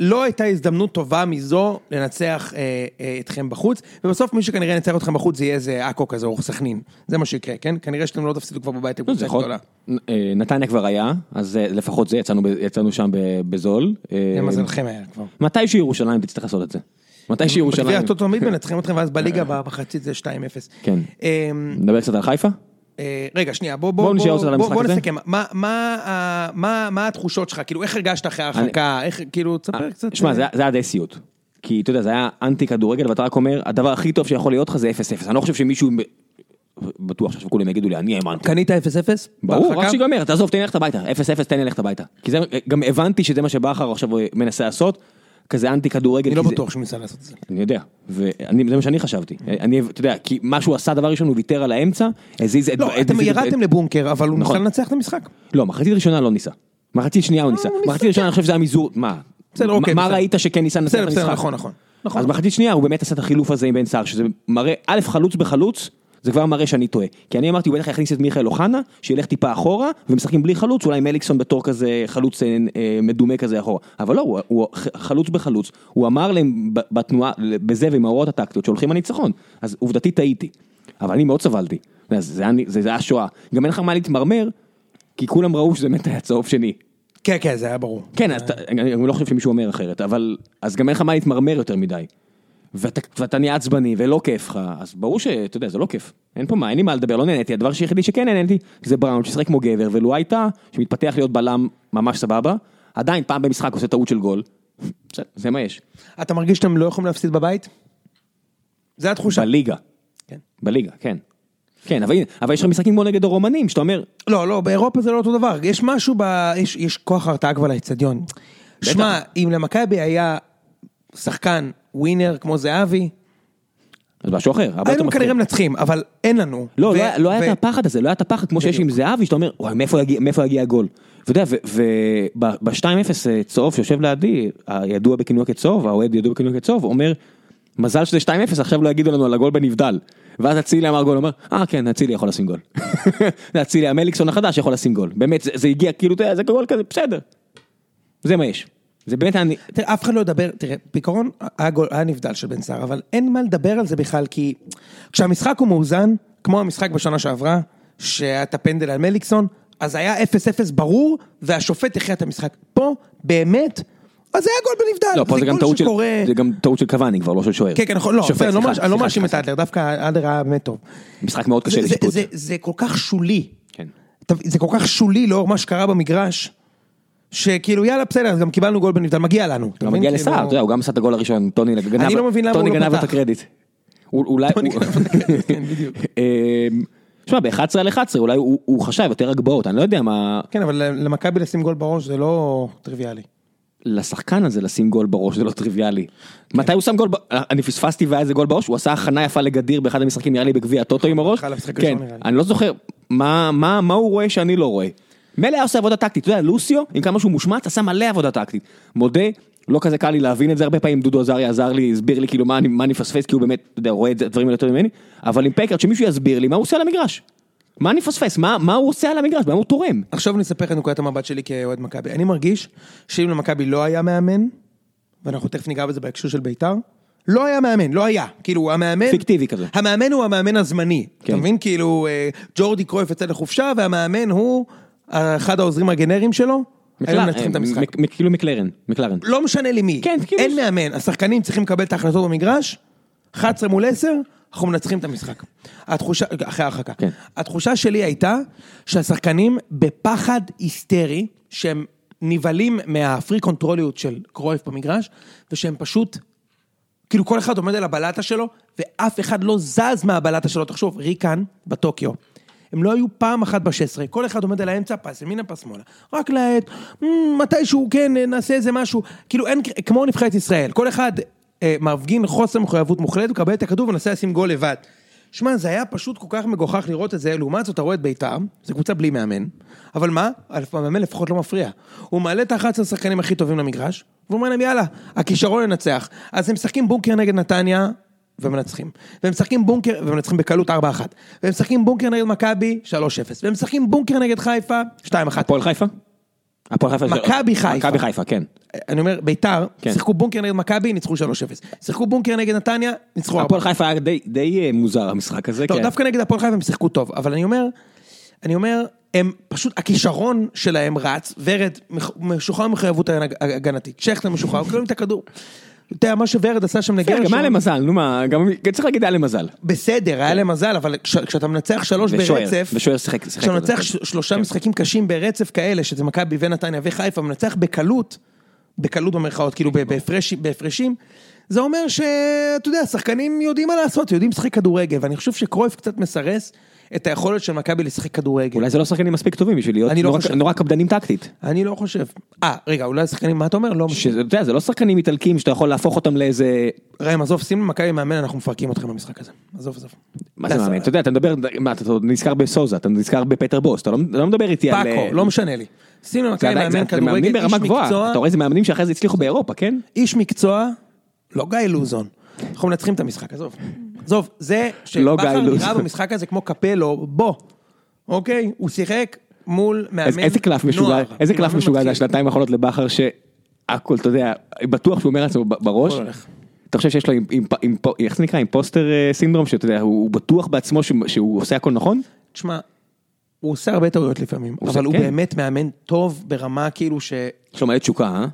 A: לא הייתה הזדמנות טובה מזו לנצח אה, אה, אתכם בחוץ, ובסוף מי שכנראה ינצח אתכם בחוץ זה יהיה איזה עכו כזה או סכנין. זה מה שיקרה, כן? כנראה שאתם לא תפסידו כבר בבית
B: לא, זה
A: לקבוצה
B: יכול-
A: גדולה.
B: אה, נתניה כבר היה, אז אה, לפחות זה, יצאנו ב- יצאנו שם ב- בזול. אה,
A: למזלכם היה כבר.
B: מתי שירושלים תצטרך לעשות את זה. מתי
A: בגביע
B: שירושלים.
A: הטוטו תמיד מנצחים אתכם, ואז בליגה במחצית זה 2-0.
B: אה. כן.
A: אמ,
B: נדבר קצת על חיפה?
A: אה, רגע, שנייה, בוא,
B: בואו
A: בוא,
B: נשאר
A: בוא,
B: עוד על
A: בוא,
B: המשחק
A: בוא
B: הזה.
A: נסכם. מה, מה, ה- מה, מה התחושות שלך? כאילו, איך הרגשת אחרי ההרחקה? איך, כאילו, תספר קצת.
B: שמע,
A: אה,
B: זה היה- זה היה די סיוט. כי אתה יודע, זה היה אנטי כדורגל, ואתה רק אומר, הדבר הכי טוב שיכול להיות לך זה 0-0. אני לא חושב שמישהו... בטוח שעכשיו כולם יגידו לי, אני האמנתי.
A: קנית 0-0?
B: ברור, רק
A: בהרחקה?
B: שיגמר, תעזוב, תן לי ללכת הביתה. 0-0, תן לי ללכת הביתה. כי זה, גם הבנתי שזה מה שבכר עכשיו מנסה לעשות, כזה אנטי כדורגל.
A: אני לא
B: כי זה-
A: בטוח שהוא ניסה לעשות את זה.
B: אני יודע, ואני, זה מה שאני חשבתי. אני, אתה יודע, כי מה שהוא עשה, דבר ראשון, הוא ויתר על האמצע, הזיז את...
A: לא,
B: הזיז
A: אתם
B: את-
A: ירדתם לבונקר, אבל הוא ניסה
B: נכון.
A: לנצח את המשחק.
B: לא, מחצית ראשונה לא ניסה. מחצית שנייה הוא ניסה.
A: אה, הוא ניסה, כן.
B: מחצית ראשונה אני חושב שזה היה מזעור, מה?
A: בסדר,
B: מה-
A: אוקיי,
B: מה
A: בסדר.
B: ראית שכן ניסה לנצח את
A: בסדר,
B: המשחק?
A: בסדר, נכון, נכון.
B: אז
A: נכון.
B: מחצית שנייה הוא באמת עשה את החילוף הזה עם בן סער, שזה מראה, א', חלוץ בחלוץ, זה כבר מראה שאני טועה. כי אני אמרתי, הוא בטח יכניס את מיכאל אוחנה, שילך טיפה אחורה, ומשחקים בלי חלוץ, אולי מליקסון בתור כזה חלוץ אה, אה, מדומה כזה אחורה. אבל לא, הוא, הוא ח- חלוץ בחלוץ, הוא אמר להם ב- בתנועה, בזה ועם ההוראות הטקטיות, שהולכים לניצחון. אז עובדתית טעיתי. אבל אני מאוד סבלתי. אתה יודע, זה היה- זה זה היה שואה. גם אין לך מה להתמרמר, כי כולם ראו שזה באמת היה צהוב שני.
A: כן, כן, זה היה ברור.
B: כן, אז אתה- אני אני לא חושב שמישהו אומר אחרת, אבל אז גם אין לך מה להתמרמר יותר מדי. ואתה, ואתה נהיה עצבני ולא כיף לך, אז ברור שאתה יודע, זה לא כיף. אין פה מה, אין לי מה לדבר, לא נהניתי. הדבר היחידי שכן נהניתי זה בראון ששיחק כמו גבר, ולו הייתה, שמתפתח להיות בלם ממש סבבה, עדיין פעם במשחק עושה טעות של גול. בסדר, זה מה יש.
A: אתה מרגיש שאתם לא יכולים להפסיד בבית? זה התחושה.
B: בליגה.
A: כן.
B: בליגה, כן. כן, אבל הנה, אבל יש לך משחקים כמו נגד הרומנים, שאתה אומר,
A: לא, לא, באירופה זה לא אותו דבר. יש משהו ב... יש, יש כוח הרתעה כבר לאצטדיון. שמע, אם למכבי היה שחקן ווינר כמו זהבי,
B: אז משהו אחר. הרבה יותר
A: היינו
B: מפחיד.
A: כנראה מנצחים, אבל אין לנו.
B: לא,
A: ו-
B: לא, היה- לא היה
A: ו-
B: את הפחד הזה, לא היה את הפחד כמו שיש עם זהבי, שאתה אומר, וואי, מאיפה יגיע, מאיפה יגיע הגול? אתה יודע, וב-2-0 אה, צהוב שיושב לידי, הידוע בכינוי כצהוב, האוהד ידוע בכינוי כצהוב, אומר, מזל שזה 2-0, עכשיו לא יגידו לנו על הגול בנבדל. ואז אצילי אמר גול, הוא אומר, אה כן, אצילי יכול לשים גול. זה אצילי המליקסון החדש יכול לשים גול. באמת, זה, זה הגיע כאילו, אתה יודע, זה גול כזה, בסדר. זה מה יש. זה באמת אני...
A: תראה, אף אחד לא ידבר, תראה, בעיקרון היה גול- היה נבדל של בן סער, אבל אין מה לדבר על זה בכלל, כי כשהמשחק הוא מאוזן, כמו המשחק בשנה שעברה, שהיה את הפנדל על מליקסון, אז היה 0-0 ברור, והשופט הכריע את המשחק. פה, באמת, אז זה היה גול בנבדל.
B: לא, פה זה גם
A: גול
B: טעות של...
A: שקורה-
B: זה גם טעות של קוואני כבר, לא של שוער.
A: כן, כן, נכון, לא,
B: שופט,
A: בסדר, אני לא
B: סליחה,
A: מאש- אני לא
B: סליחה,
A: מאשים את
B: סליחה.
A: אדלר, דווקא אדלר היה באמת טוב.
B: משחק מאוד קשה
A: זה- זה-
B: לשיפוט.
A: זה- זה כל כך שולי.
B: כן.
A: אתה- זה כל כך שולי לאור מה שקרה במגרש, שכאילו יאללה בסדר, אז גם קיבלנו גול בנבדל, מגיע לנו. אתה
B: גם
A: מבין?
B: מגיע
A: כאילו-
B: לסער, אתה יודע, הוא גם עשה את הגול הראשון, טוני גנב,
A: אני לא מבין למה
B: טוני
A: הוא לא
B: גנב
A: פתח.
B: את הקרדיט. הוא- אולי,
A: טוני
B: הוא-
A: גנב את הקרדיט, כן, בדיוק.
B: אמ, שמע, ב-11 על 11 אולי הוא הוא חשב יותר הגבהות, אני לא יודע מה,
A: כן, אבל למכבי לשים גול בראש זה לא טריוויאלי.
B: לשחקן הזה לשים גול בראש זה לא טריוויאלי.
A: כן.
B: מתי הוא שם גול, ב- אני פספסתי והיה איזה גול בראש, הוא עשה הכנה יפה לגדיר באחד המשחקים נראה לי בגביע הטוטו עם הראש,
A: בכלל המשחק
B: כן,
A: הראשון, נראה לי.
B: אני לא זוכר מה מה- מה הוא רואה שאני לא רואה. מילא היה עושה עבודה טקטית, אתה יודע, לוסיו, עם כמה שהוא מושמץ, עשה מלא עבודה טקטית. מודה, לא כזה קל לי להבין את זה הרבה פעמים, דודו עזריה עזר לי, הסביר לי כאילו מה אני מה אני מפספס, כי הוא באמת, אתה יודע, רואה את זה- הדברים האלה יותר ממני, אבל עם פקארט, שמישהו יסביר לי מה הוא עושה על המגרש. מה אני מפספס, מה מה הוא עושה על המגרש, מה הוא תורם.
A: עכשיו אני אספר לך את נקודת המבט שלי כאוהד מכבי. אני מרגיש שאם למכבי לא היה מאמן, ואנחנו תכף ניגע בזה בהקשר של ביתר, לא היה מאמן, לא היה. כאילו, המאמן...
B: פיקטיבי כזה.
A: המאמן הוא המאמן הזמני.
B: כן.
A: אתה מבין? כאילו, אה, ג'ורדי קרויף יצא לחופשה, והמאמן הוא אה, אחד העוזרים הגנריים שלו. היו
B: מקלר-
A: מנצחים את המשחק.
B: מק- מק- כאילו מקלרן, מקלרן.
A: לא משנה לי מי.
B: כן, כאילו-
A: אין מאמן, השחקנים צריכים לקבל את ההחלטות במגרש, 11 מול 10, אנחנו מנצחים את המשחק. התחושה, אחרי ההרחקה.
B: כן.
A: התחושה שלי הייתה שהשחקנים בפחד היסטרי, שהם נבהלים מהפרי קונטרוליות של קרויף במגרש, ושהם פשוט כאילו כל אחד עומד על הבלטה שלו, ואף אחד לא זז מהבלטה שלו. תחשוב, ריקן בטוקיו. הם לא היו פעם אחת ב-16, כל אחד עומד על האמצע, פס ימינה, פס שמאלה. רק לעת, "מ, מתישהו, כן, אה, נעשה איזה משהו. כאילו אין, כמו נבחרת ישראל, כל אחד אה, מפגין חוסר מחויבות מוחלט, מקבל את הכדור ומנסה לשים גול לבד. שמע, זה היה פשוט כל כך מגוחך לראות את זה, לעומת זאת אתה רואה את ביתר, זו קבוצה בלי מאמן, אבל מה? המאמן לפחות לא מפריע. הוא מעלה את ה-11 השחקנים הכי טובים למגרש, והוא אומר להם יאללה, הכישרון ינצח. אז הם משחקים בונקר נגד נתניה, ומנצחים. והם משחקים בונקר, ומנצחים בקלות 4-1. והם משחקים בונקר נגד מכבי, 3-0. והם משחקים בונקר נגד חיפה, 2-1.
B: הפועל חיפה? הפועל חיפה.
A: מכבי חיפה.
B: מכבי חיפה, כן.
A: אני אומר, ביתר,
B: כן.
A: שיחקו בונקר נגד מכבי, ניצחו 3-0. שיחקו בונקר נגד נתניה, ניצחו 4-1.
B: הפועל חיפה היה די- די אה, מוזר המשחק הזה,
A: לא,
B: כן.
A: דווקא נגד הפועל חיפה הם שיחקו טוב, אבל אני אומר, אני אומר, הם פשוט, הכישרון שלהם רץ, ורד מח- משוחרר מחויבות ההג- הגנתית, שכטר משוחרר, הוא מקבל את הכדור. אתה יודע, מה שורד עשה שם
B: כן,
A: לגרשון,
B: גם היה להם מזל, נו מה, גם גם צריך להגיד היה להם מזל.
A: בסדר, היה להם מזל, אבל כש- כשאתה מנצח שלוש
B: ושוער,
A: ברצף,
B: ושוער שיחק- שיחק
A: כשאתה
B: על זה. כן.
A: מנצח ש- שלושה משחקים קשים ברצף כאלה, שזה מכבי ונתניה וחיפה, מנצח בקלות, בקלות במרכאות, כאילו ב- בהפרש- בהפרשים, זה אומר שאתה יודע, השחקנים יודעים מה לעשות, יודעים לשחק כדורגל, ואני חושב שקרויף קצת מסרס את היכולת של מכבי לשחק כדורגל.
B: אולי זה לא שחקנים מספיק טובים בשביל להיות
A: אני לא
B: נורא-
A: חושב.
B: נורא קפדנים טקטית.
A: אני לא חושב. אה, רגע, אולי השחקנים, מה אתה אומר? לא
B: שזה, אתה יודע, זה לא שחקנים איטלקים שאתה יכול להפוך אותם לאיזה...
A: ראם, עזוב, שים למכבי מאמן, אנחנו מפרקים אתכם במשחק הזה. עזוב, עזוב.
B: מה זה מאמן? אתה יודע, אתה מדבר, מה, אתה עוד נזכר בסוזה, אתה נזכר בפטר בוס, אתה לא אתה לא מדבר איתי על...
A: פאקו, לא משנה לי. שים
B: אתה
A: למכבי
B: יודע, זה-
A: מאמן
B: זה מאמנים
A: כדורגל, איש
B: ברמה גבוהה,
A: מקצוע,
B: אתה רואה איזה מאמנים שאחרי זה הצליחו באירופה, כן?
A: איש מקצוע, לא גיא לוזון. אנחנו מנצחים את המשחק, עזוב. עזוב, זה
B: לא גיא
A: שבכר נראה
B: לוזון.
A: במשחק הזה כמו קפלו, בוא. אוקיי? הוא שיחק מול מאמן
B: אז
A: נוער.
B: איזה קלף משוגע, איזה קלף
A: מאמן
B: משוגע זה
A: מתחיל.
B: השנתיים האחרונות לבכר שהכל, אתה יודע, בטוח שהוא אומר לעצמו ב- בראש.
A: הכל הולך.
B: אתה חושב שיש לו, אימפ- אימפ- אימפ- איך זה נקרא, אימפוסטר אה, סינדרום, שאתה יודע, הוא הוא בטוח בעצמו שהוא- שהוא עושה הכל נכון?
A: תשמע, הוא עושה הרבה טעויות לפעמים,
B: עושה-
A: אבל הוא
B: כן.
A: באמת מאמן טוב ברמה כאילו ש...
B: יש לו מלא תשוקה, אה?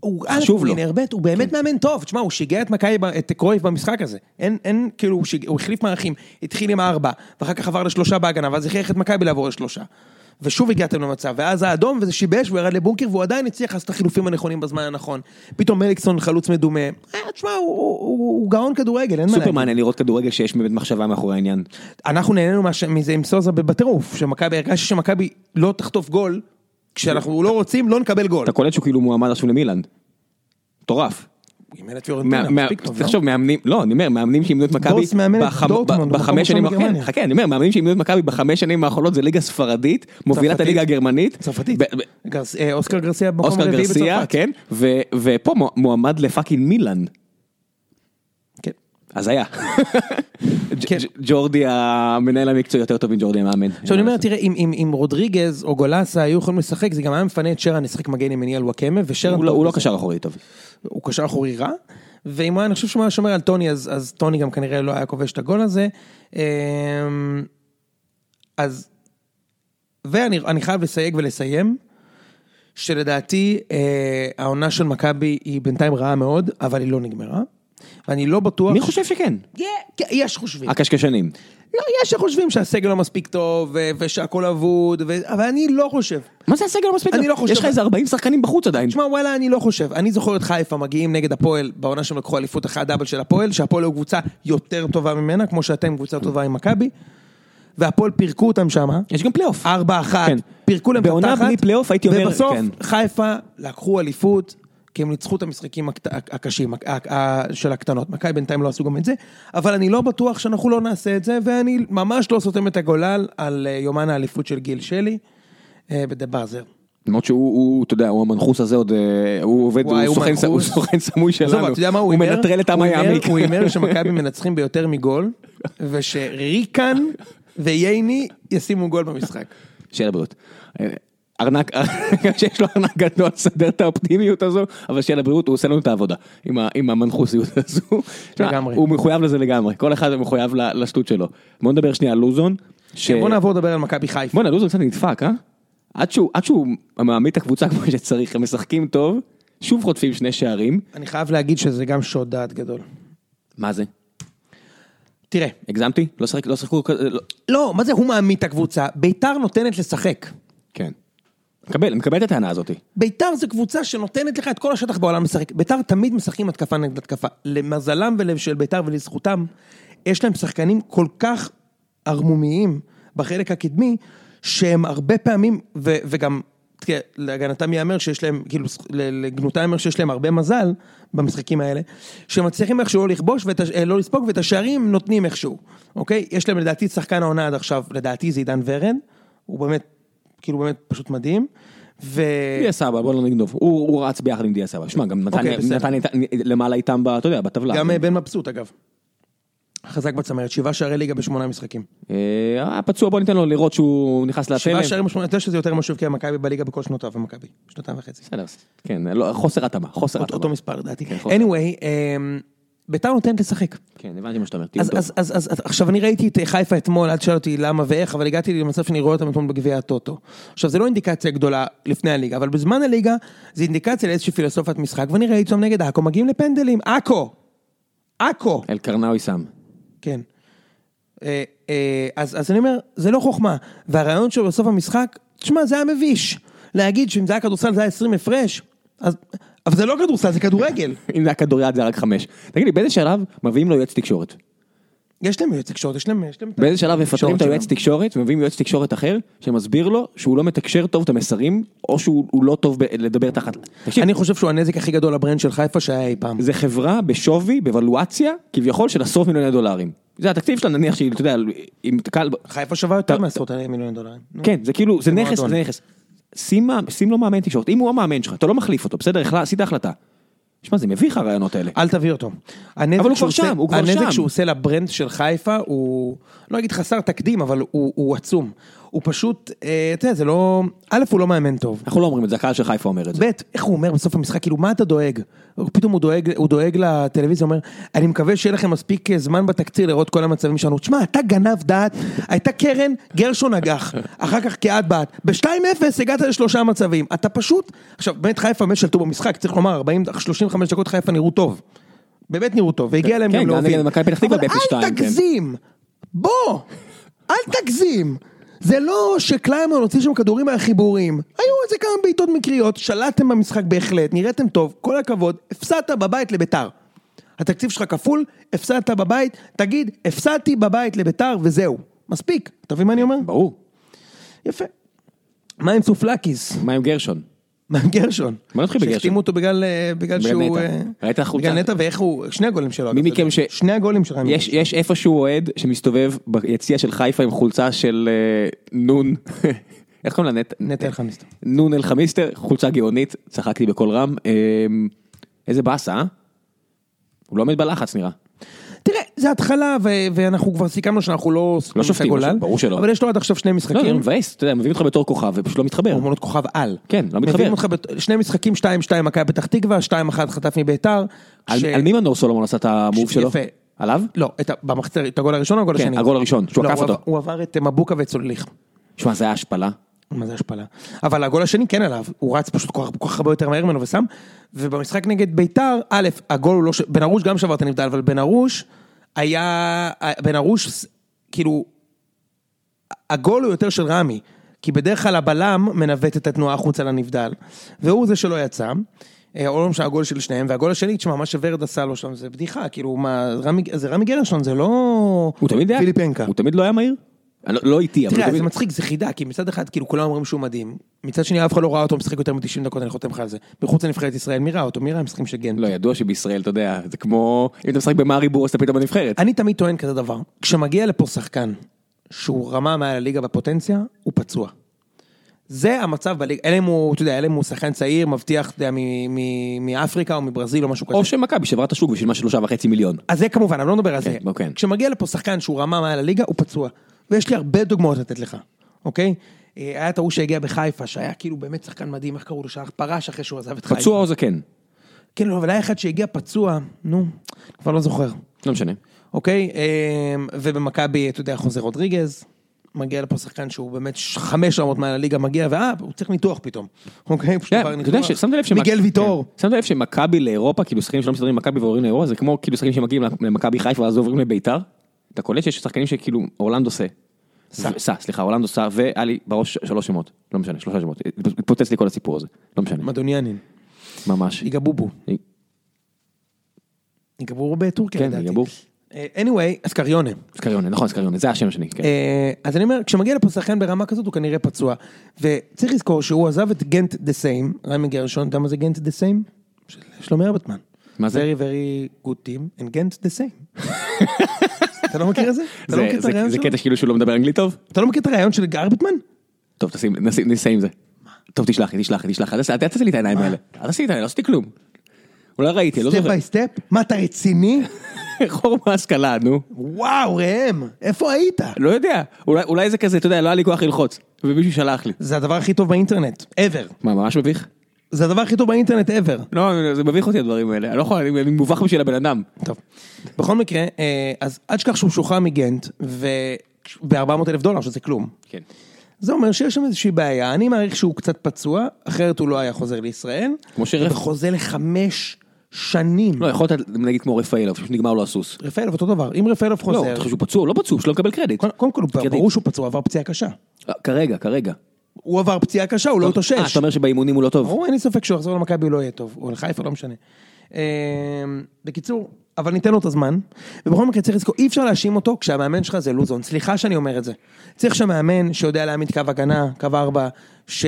A: הוא
B: חשוב
A: אלף,
B: לו. כן.
A: הנה, הרבט, הוא באמת מאמן טוב. תשמע, הוא שיגע את מכבי, ב- את קרויף במשחק הזה. אין, אין, כאילו, הוא, שיג... הוא החליף מערכים. התחיל עם הארבע, ואחר כך עבר לשלושה בהגנה, ואז הכריח את מכבי לעבור לשלושה. ושוב הגעתם למצב, ואז האדום, וזה שיבש, והוא ירד לבונקר, והוא עדיין הצליח לעשות את החילופים הנכונים בזמן הנכון. פתאום מליקסון חלוץ מדומה. אה, תשמע, הוא, הוא, הוא, הוא גאון כדורגל, אין מה
B: סופר
A: להגיד.
B: מעניין לראות כדורגל שיש באמת מחשבה מאחורי העניין.
A: אנחנו נהנינו מהש- מזה עם סוזה בטירוף, שמכבי, הרגשתי שמכבי לא תחטוף גול, כשאנחנו לא רוצים, לא נקבל גול.
B: אתה קולט שהוא כאילו מועמד עכשיו למילאנד. מטורף.
A: הוא אימן את פיורנטינה,
B: מה-
A: מספיק
B: מה-
A: טוב, לא?
B: תחשוב, מאמנים, לא, אני אומר, מאמנים שאימנו את מכבי,
A: דורס מאמן את
B: בחמ-
A: דורטמונד,
B: ב-
A: הוא מקום
B: בחמש שנים,
A: ראשון
B: כן,
A: בגרמניה.
B: חכה, אני אומר, מאמנים שאימנו את מכבי בחמש שנים האחרונות זה ליגה ספרדית, מובילה את
A: צרפתית.
B: הליגה הגרמנית,
A: צרפתית.
B: ב- ב-
A: גרס- אה, אוסקר גרסיה במקום
B: אוסקר
A: רביעי בצרפת.
B: גרסיה, כן, ו- ופה מוע- מועמד לפאקינג מילאן,
A: כן.
B: אז היה. ג'-
A: כן.
B: ג'- ג'ורדי המנהל המקצועי יותר טוב מג'ורדי המאמן.
A: עכשיו אני אומר, תראה, אם- אם אם רודריגז או גולסה היו יכולים לשחק, זה גם היה מפנה את שרן לשחק מגן ימיני על וואקמה, ושרן...
B: הוא לא-
A: טוב
B: הוא לא
A: בזה.
B: קשר אחורי טוב.
A: הוא קשר אחורי רע, ואם הוא היה, אני חושב שהוא היה שומר על טוני, אז, אז טוני גם כנראה לא היה כובש את הגול הזה. אמ, אז, ואני אני חייב לסייג ולסיים, שלדעתי אה, העונה של מכבי היא בינתיים רעה מאוד, אבל היא לא נגמרה, ואני לא בטוח...
B: מי חושב אה, שכן?
A: כן, כן, יש חושבים.
B: הקשקשנים.
A: לא, יש שחושבים שהסגל לא מספיק טוב, ו- ושהכול אבוד, ו- אבל אני לא חושב.
B: מה זה הסגל המספיק?
A: אני
B: טוב?
A: לא חושב-
B: יש לך איזה 40 שחקנים בחוץ עדיין.
A: תשמע, וואלה, אני לא חושב. אני זוכר את חיפה מגיעים נגד הפועל, בעונה שהם לקחו אליפות אחרי הדאבל של הפועל, שהפועל הוא קבוצה יותר טובה ממנה, כמו שאתם קבוצה טובה עם מכבי, והפועל פירקו אותם שמה,
B: יש גם פלייאוף.
A: 4-1,
B: כן.
A: פירקו להם את התחת,
B: בעונה בלי פלייאוף הייתי אומר,
A: ובסוף
B: כן.
A: חיפה לקחו אליפות, כי הם ניצחו את המשחקים הקט- הקשים, הק- ה- ה- של הקטנות. מכבי בינתיים לא עשו גם את זה, אבל אני לא בטוח שאנחנו לא נעשה את זה, ואני ממש לא סותם את הגולל על אה, יומן האליפות של גיל שלי, אה, בדה באזר.
B: למרות שהוא, הוא, אתה יודע, הוא המנחוס הזה עוד, אה, הוא עובד,
A: וואי,
B: הוא
A: הוא
B: סוכן ס- הוא
A: מנחוס.
B: סוכן סמוי
A: עזוב,
B: שלנו.
A: אתה יודע מה הוא
B: הוא
A: הימר?
B: מנטרל את עם
A: הוא הימר-
B: היעמיק.
A: הוא הימר שמכבי מנצחים ביותר מגול, ושריקן וייני ישימו גול במשחק.
B: שיהיה לבריאות. אה, ארנק, שיש לו ארנק גדול, סדר את האופטימיות הזו, אבל שיהיה לבריאות, הוא עושה לנו את העבודה, עם ה- עם המנחוסיות הזו. תשמע,
A: לגמרי.
B: הוא מחויב לזה לגמרי, כל אחד מחויב ל- לשטות שלו. בוא נדבר שנייה על לוזון. ש-
A: כן, בוא נעבור לדבר על מכבי חיפה.
B: בואנה, לוזון קצת נדפק, אה? עד שהוא, עד שהוא מעמיד את הקבוצה כמו שצריך, הם משחקים טוב, שוב חוטפים שני שערים.
A: אני חייב להגיד שזה גם שוד דעת גדול.
B: מה זה?
A: תראה,
B: הגזמתי? לא שיחק- לא שיחקו כזה, לא-
A: לא, מה זה הוא מעמיד את הקבוצה? ביתר נותנת לשחק.
B: כן. מקבל, מקבל את הטענה הזאת.
A: ביתר זו קבוצה שנותנת לך את כל השטח בעולם לשחק. ביתר תמיד משחקים התקפה נגד התקפה. למזלם ול- של ביתר ולזכותם, יש להם שחקנים כל כך ערמומיים בחלק הקדמי, שהם הרבה פעמים, ו- וגם תראה, להגנתם ייאמר שיש להם, כאילו, זכ- ל- לגנותם ייאמר שיש להם הרבה מזל במשחקים האלה, שמצליחים איכשהו לא לכבוש, ואת, הש- אה, לא לספוג, ואת השערים נותנים איכשהו, אוקיי? יש להם לדעתי את שחקן העונה עד עכשיו, לדעתי זה עידן ורד, הוא באמת, כאילו באמת פשוט מדהים. ו...
B: דיה סבא, בוא לא נגנוב. הוא הוא רץ ביחד עם דיה סבא. שמע, גם נתן-
A: אוקיי, בסדר.
B: נתן נתן- למעלה איתם, ב- אתה יודע, בטבלה.
A: גם אה, בן מבסוט אגב. חזק בצמרת, שבעה שערי ליגה בשמונה משחקים.
B: אה, היה פצוע, בוא ניתן לו לראות שהוא נכנס לתלם.
A: שבעה שערים בשמונה, אתה יודע שזה יותר ממה שהבקיע מכבי בליגה בכל שנותיו במכבי. שנתיים וחצי.
B: בסדר, כן, לא, חוסר התאמה, חוסר
A: אותו-
B: התאמה.
A: אותו מספר לדעתי.
B: כן, יכול
A: anyway, אמ, ביתר נותנת לשחק.
B: כן, הבנתי מה שאתה אומר.
A: אז,
B: טמטום.
A: אז, אז, אז, אז עכשיו אני ראיתי את אה, חיפה אתמול, אל תשאל אותי למה ואיך, אבל הגעתי למצב שאני רואה אותם אתמול בגביע הטוטו. עכשיו זה לא אינדיקציה גדולה לפני הליגה, אבל בזמן הליגה זה אינדיקציה לאיזושהי פילוסופיית משחק, ואני ראיתי אותם נגד עכו, מגיעים לפנדלים, עכו! עכו!
B: אלקרנאוי שם.
A: כן. אה, אה, אז, אז אני אומר, זה לא חוכמה. והרעיון שלו בסוף המשחק, תשמע, זה היה מביש. להגיד שאם זה היה כדורסל זה היה 20 הפרש, אז, אבל זה לא כדורסל, זה כדורגל.
B: אם זה היה כדוריד זה היה רק חמש. תגיד לי, באיזה שלב מביאים לו יועץ תקשורת?
A: יש להם יועץ תקשורת, יש להם... יש להם את
B: באיזה שלב מפטרים
A: התקשורת
B: את היועץ
A: שלהם.
B: תקשורת ומביאים יועץ תקשורת אחר שמסביר לו שהוא לא מתקשר טוב את המסרים או שהוא הוא לא טוב ב- לדבר תחת. תקשיב,
A: אני חושב שהוא הנזק הכי גדול לברנד של חיפה שהיה אי פעם.
B: זה חברה בשווי, בוולואציה, כביכול של עשרות מיליוני דולרים. זה התקציב שלה נניח שהיא, אתה יודע, אם תקל...
A: חיפה שווה יותר מעשרות מיליון דולרים. נו.
B: כן, זה כאילו, זה נכס,
A: מועדון.
B: זה נכס. שים מה- שים לו מאמן תקשורת, אם הוא המאמן שלך, אתה לא מחליף אותו, בסדר, החלה- עשית החלטה. שמע, זה מביך הרעיונות האלה.
A: אל תביא אותו. הנזק
B: אבל
A: שהוא
B: הוא כבר
A: עושה-
B: שם, הוא כבר
A: הנזק
B: שם.
A: שהוא עושה לברנד של חיפה הוא, לא אגיד חסר תקדים, אבל הוא, הוא עצום. הוא פשוט, אה, אתה יודע, זה לא, א', הוא לא מאמן טוב.
B: אנחנו לא אומרים את זה, הקהל של חיפה אומר את זה.
A: ב', איך הוא אומר בסוף המשחק, כאילו, מה אתה דואג? פתאום הוא דואג, הוא דואג לטלוויזיה, הוא אומר, אני מקווה שיהיה לכם מספיק אה, זמן בתקציר לראות כל המצבים שלנו. תשמע, אתה גנב דעת, הייתה קרן, גרשון נגח, אחר כך קהת בעט. ב-2-0 הגעת לשלושה מצבים. אתה פשוט, עכשיו, באמת חיפה באמת שלטו במשחק, צריך לומר, 40, 35 דקות חיפה נראו טוב. באמת נראו טוב, והגיע להם
B: כן,
A: גם
B: גם
A: להוביל.
B: נגד מכבי פתח תקווה
A: אבל
B: ב-0-2,
A: אל
B: כן.
A: תגזים! בוא! אל תגזים! זה לא שקליימן הוציא שם כדורים מהחיבורים. היו איזה כמה בעיטות מקריות, שלטתם במשחק בהחלט, נראיתם טוב, כל הכבוד, הפסדת בבית לביתר. התקציב שלך כפול, הפסדת בבית, תגיד, הפסדתי בבית לביתר וזהו. מספיק, אתה מבין מה אני אומר?
B: ברור.
A: יפה. מה עם סופלקיס?
B: מה עם גרשון?
A: מה עם גרשון?
B: מה נתחיל בגרשון?
A: שהחתימו אותו בגלל אה, בגלל
B: בגלל
A: שהוא...
B: נטע.
A: אה,
B: ראית החולצה?
A: בגלל נטע ואיך הוא... שני הגולים שלו.
B: מי
A: אגב, לא-
B: מכם ש-
A: שני הגולים שלו.
B: יש, יש איפשהו אוהד שמסתובב ביציע של חיפה עם חולצה של אה, נון, איך קוראים לה? נט-
A: נטע אלחמיסטר.
B: נון אלחמיסטר, חולצה גאונית, צחקתי בקול רם. אה, איזה באסה, אה? הוא לא עומד בלחץ נראה.
A: תראה, זה התחלה, ו- ואנחנו כבר סיכמנו שאנחנו לא...
B: לא שופטים,
A: משחק עולל,
B: ברור שלא.
A: אבל יש לו עד עכשיו שני
B: לא, זה
A: משחקים.
B: מבאס, אתה יודע, מביאים אותך בתור כוכב ופשוט לא מתחבר.
A: אמנות כוכב על.
B: כן, לא מתחבר.
A: מביאים אותך בת- שני משחקים, 2-2 מכבי פתח תקווה, 2-1 חטף מביתר.
B: על,
A: ש-
B: על מי מנור סולומון עשה את המוב
A: ש-
B: שלו?
A: יפה.
B: עליו?
A: לא, את ה- במחצר, את הגול הראשון או הגול
B: כן,
A: השני?
B: הגול הראשון, שהוא
A: לא,
B: עקף
A: הוא
B: אותו.
A: עבר- הוא עבר את אה, מבוקה ואת סולליך.
B: שמע, זה היה השפלה.
A: מה זה השפלה? אבל הגול השני כן עליו, הוא רץ פשוט כל כך- כל כך הרבה יותר מהר ממנו ושם, ובמשחק נגד ביתר, א', הגול הוא לא... ש- בן ארוש גם שבר את הנבדל, אבל בן ארוש היה... בן ארוש, ס- כאילו, הגול הוא יותר של רמי, כי בדרך כלל הבלם מנווט את התנועה החוצה לנבדל, והוא זה שלא יצא. אה, או לא משנה, הגול של שניהם, והגול השני, תשמע, מה שוורד עשה לו שם זה בדיחה, כאילו, מה, רמי, זה רמי גרשון, זה לא...
B: הוא תמיד היה...
A: פיליפנקה.
B: הוא תמיד לא היה מהיר? אני לא- לא איטי, אבל הוא
A: תראה,
B: תמיד...
A: זה מצחיק, זה חידה, כי מצד אחד, כאילו, כולם אומרים שהוא מדהים, מצד שני, אף אחד לא ראה אותו משחק יותר מ-90 דקות, אני חותם לך על זה. מחוץ לנבחרת ישראל, מי ראה אותו? מי ראה משחקים של גן?
B: לא, ידוע שבישראל, אתה יודע, זה כמו... אם אתה משחק במארי בורס, אתה פתאום בנבחרת.
A: אני תמיד טוען כזה דבר, כשמגיע לפה שחקן שהוא רמה מעל הליגה בפוטנציה, הוא פצוע. זה המצב בליגה, אלא אם הוא, אתה יודע, אלא אם הוא שחקן צעיר, מבטיח, אתה יודע, מ- מ- מאפריקה או מברזיל או משהו כזה.
B: או שמכבי שברה את השוק בשביל מה שלושה וחצי מיליון.
A: אז זה כמובן, אני לא מדבר על זה.
B: בוא, כן.
A: כשמגיע לפה שחקן שהוא רמה מעל הליגה, הוא פצוע. ויש לי הרבה דוגמאות לתת לך, אוקיי? אה, היה את ההוא שהגיע בחיפה, שהיה כאילו באמת שחקן מדהים, איך קראו לו? שפרש אחרי שהוא עזב את חיפה.
B: פצוע או זקן?
A: כן, לא, אבל היה אחד שהגיע פצוע, נו, כבר לא זוכר,
B: לא משנה.
A: אוקיי? אה, ובמכבי, אתה יודע, חוזר רודריגז, מגיע לפה שחקן שהוא באמת ש- חמש רמות מעל הליגה מגיע, ואה, הוא צריך ניתוח פתאום. אוקיי? פשוט עבר
B: כן, אתה יודע
A: ניתוח.
B: ששמת לב
A: מיגל ויטור.
B: כן. שמת לב שמכבי לאירופה, כאילו שחקנים שלא מסתדרים עם מכבי ועוברים לאירופה, זה כמו כאילו שחקנים שמגיעים למכבי חיפה ואז עוברים לביתר. אתה קולט שיש שחקנים שכאילו אורלנדו סה.
A: סע.
B: סע, סליחה, אורלנדו סע, והיה לי בראש שלוש שמות. לא משנה, שלושה שמות. התפוצץ לי כל הסיפור הזה. לא משנה.
A: מדוניאנין.
B: ממש.
A: יגע בובו. יגע בובו בטורקיה,
B: כן,
A: לדעתי.
B: יגע בובו.
A: אה, anyway, אז קריונה.
B: סקריונה, נכון, סקריונה, זה השם השני. כן.
A: אה, אז אני אומר, כשמגיע לפה שחקן ברמה כזאת, הוא כנראה פצוע. וצריך לזכור שהוא עזב את גנט דה סיים, רמי גרשון, אתה יודע מה זה גנט דה סיים? של שלומי ארבטמן.
B: מה זה?
A: Very very good team and גנט דה סיים. אתה לא מכיר את זה? אתה
B: זה-
A: לא מכיר את
B: זה-
A: הרעיון
B: זה
A: שלו?
B: קטע שכאילו שהוא לא מדבר אנגלית טוב?
A: אתה לא מכיר את הרעיון של ארבטמן?
B: טוב, תשים, נשים- נסיים עם זה. טוב, תשלח לי, תשלח לי, תשלח לי. אל תעשה- אל תעשה לי את העיניים האלה. אל תעשה לי את העיניים, לא עשיתי כלום. אולי ראיתי, לא
A: סטפ
B: זוכר.
A: ביי סטפ? מה אתה רציני?
B: חור בהשכלה, נו.
A: וואו ראם, איפה היית?
B: לא יודע. אולי- אולי זה כזה, אתה יודע, לא היה לי כוח ללחוץ. ומישהו שלח לי.
A: זה הדבר הכי טוב באינטרנט, ever.
B: מה, ממש מביך?
A: זה הדבר הכי טוב באינטרנט ever.
B: לא, זה מביך אותי הדברים האלה. אני לא יכול, אני אני מובך בשביל הבן אדם.
A: טוב. בכל מקרה, אה, אז אל תשכח שהוא שוחרר מגנט, וב-400 אלף דולר, שזה כלום.
B: כן.
A: זה אומר שיש שם איזושהי בעיה, אני מעריך שהוא קצת פצוע, אחרת הוא לא היה חוזר לישראל.
B: כמו שרף-
A: וחוזה לחמש שנים.
B: לא, יכולת, נגיד כמו רפאלוב, פשוט נגמר לו הסוס.
A: רפאלוב אותו דבר, אם רפאלוב
B: לא,
A: חוזר,
B: אתה חושב שהוא פצוע, הוא לא פצוע, שלא מקבל קרדיט.
A: קודם- קודם כל הוא-
B: קרדיט.
A: ברור שהוא פצוע, עבר פציעה קשה.
B: כרגע, כרגע.
A: הוא עבר פציעה קשה, הוא לא התאושש.
B: אה, אתה אומר שבאימונים הוא לא טוב.
A: ברור, אין לי ספק שהוא יחזור למכבי, הוא לא יהיה טוב. או לחיפה, לא משנה. אה, בקיצור, אבל ניתן לו את הזמן. ובכל מקרה צריך לזכור, אי אפשר להאשים אותו כשהמאמן שלך זה לוזון. סליחה שאני אומר את זה. צריך שמאמן שיודע להעמיד קו הגנה, קו ארבע,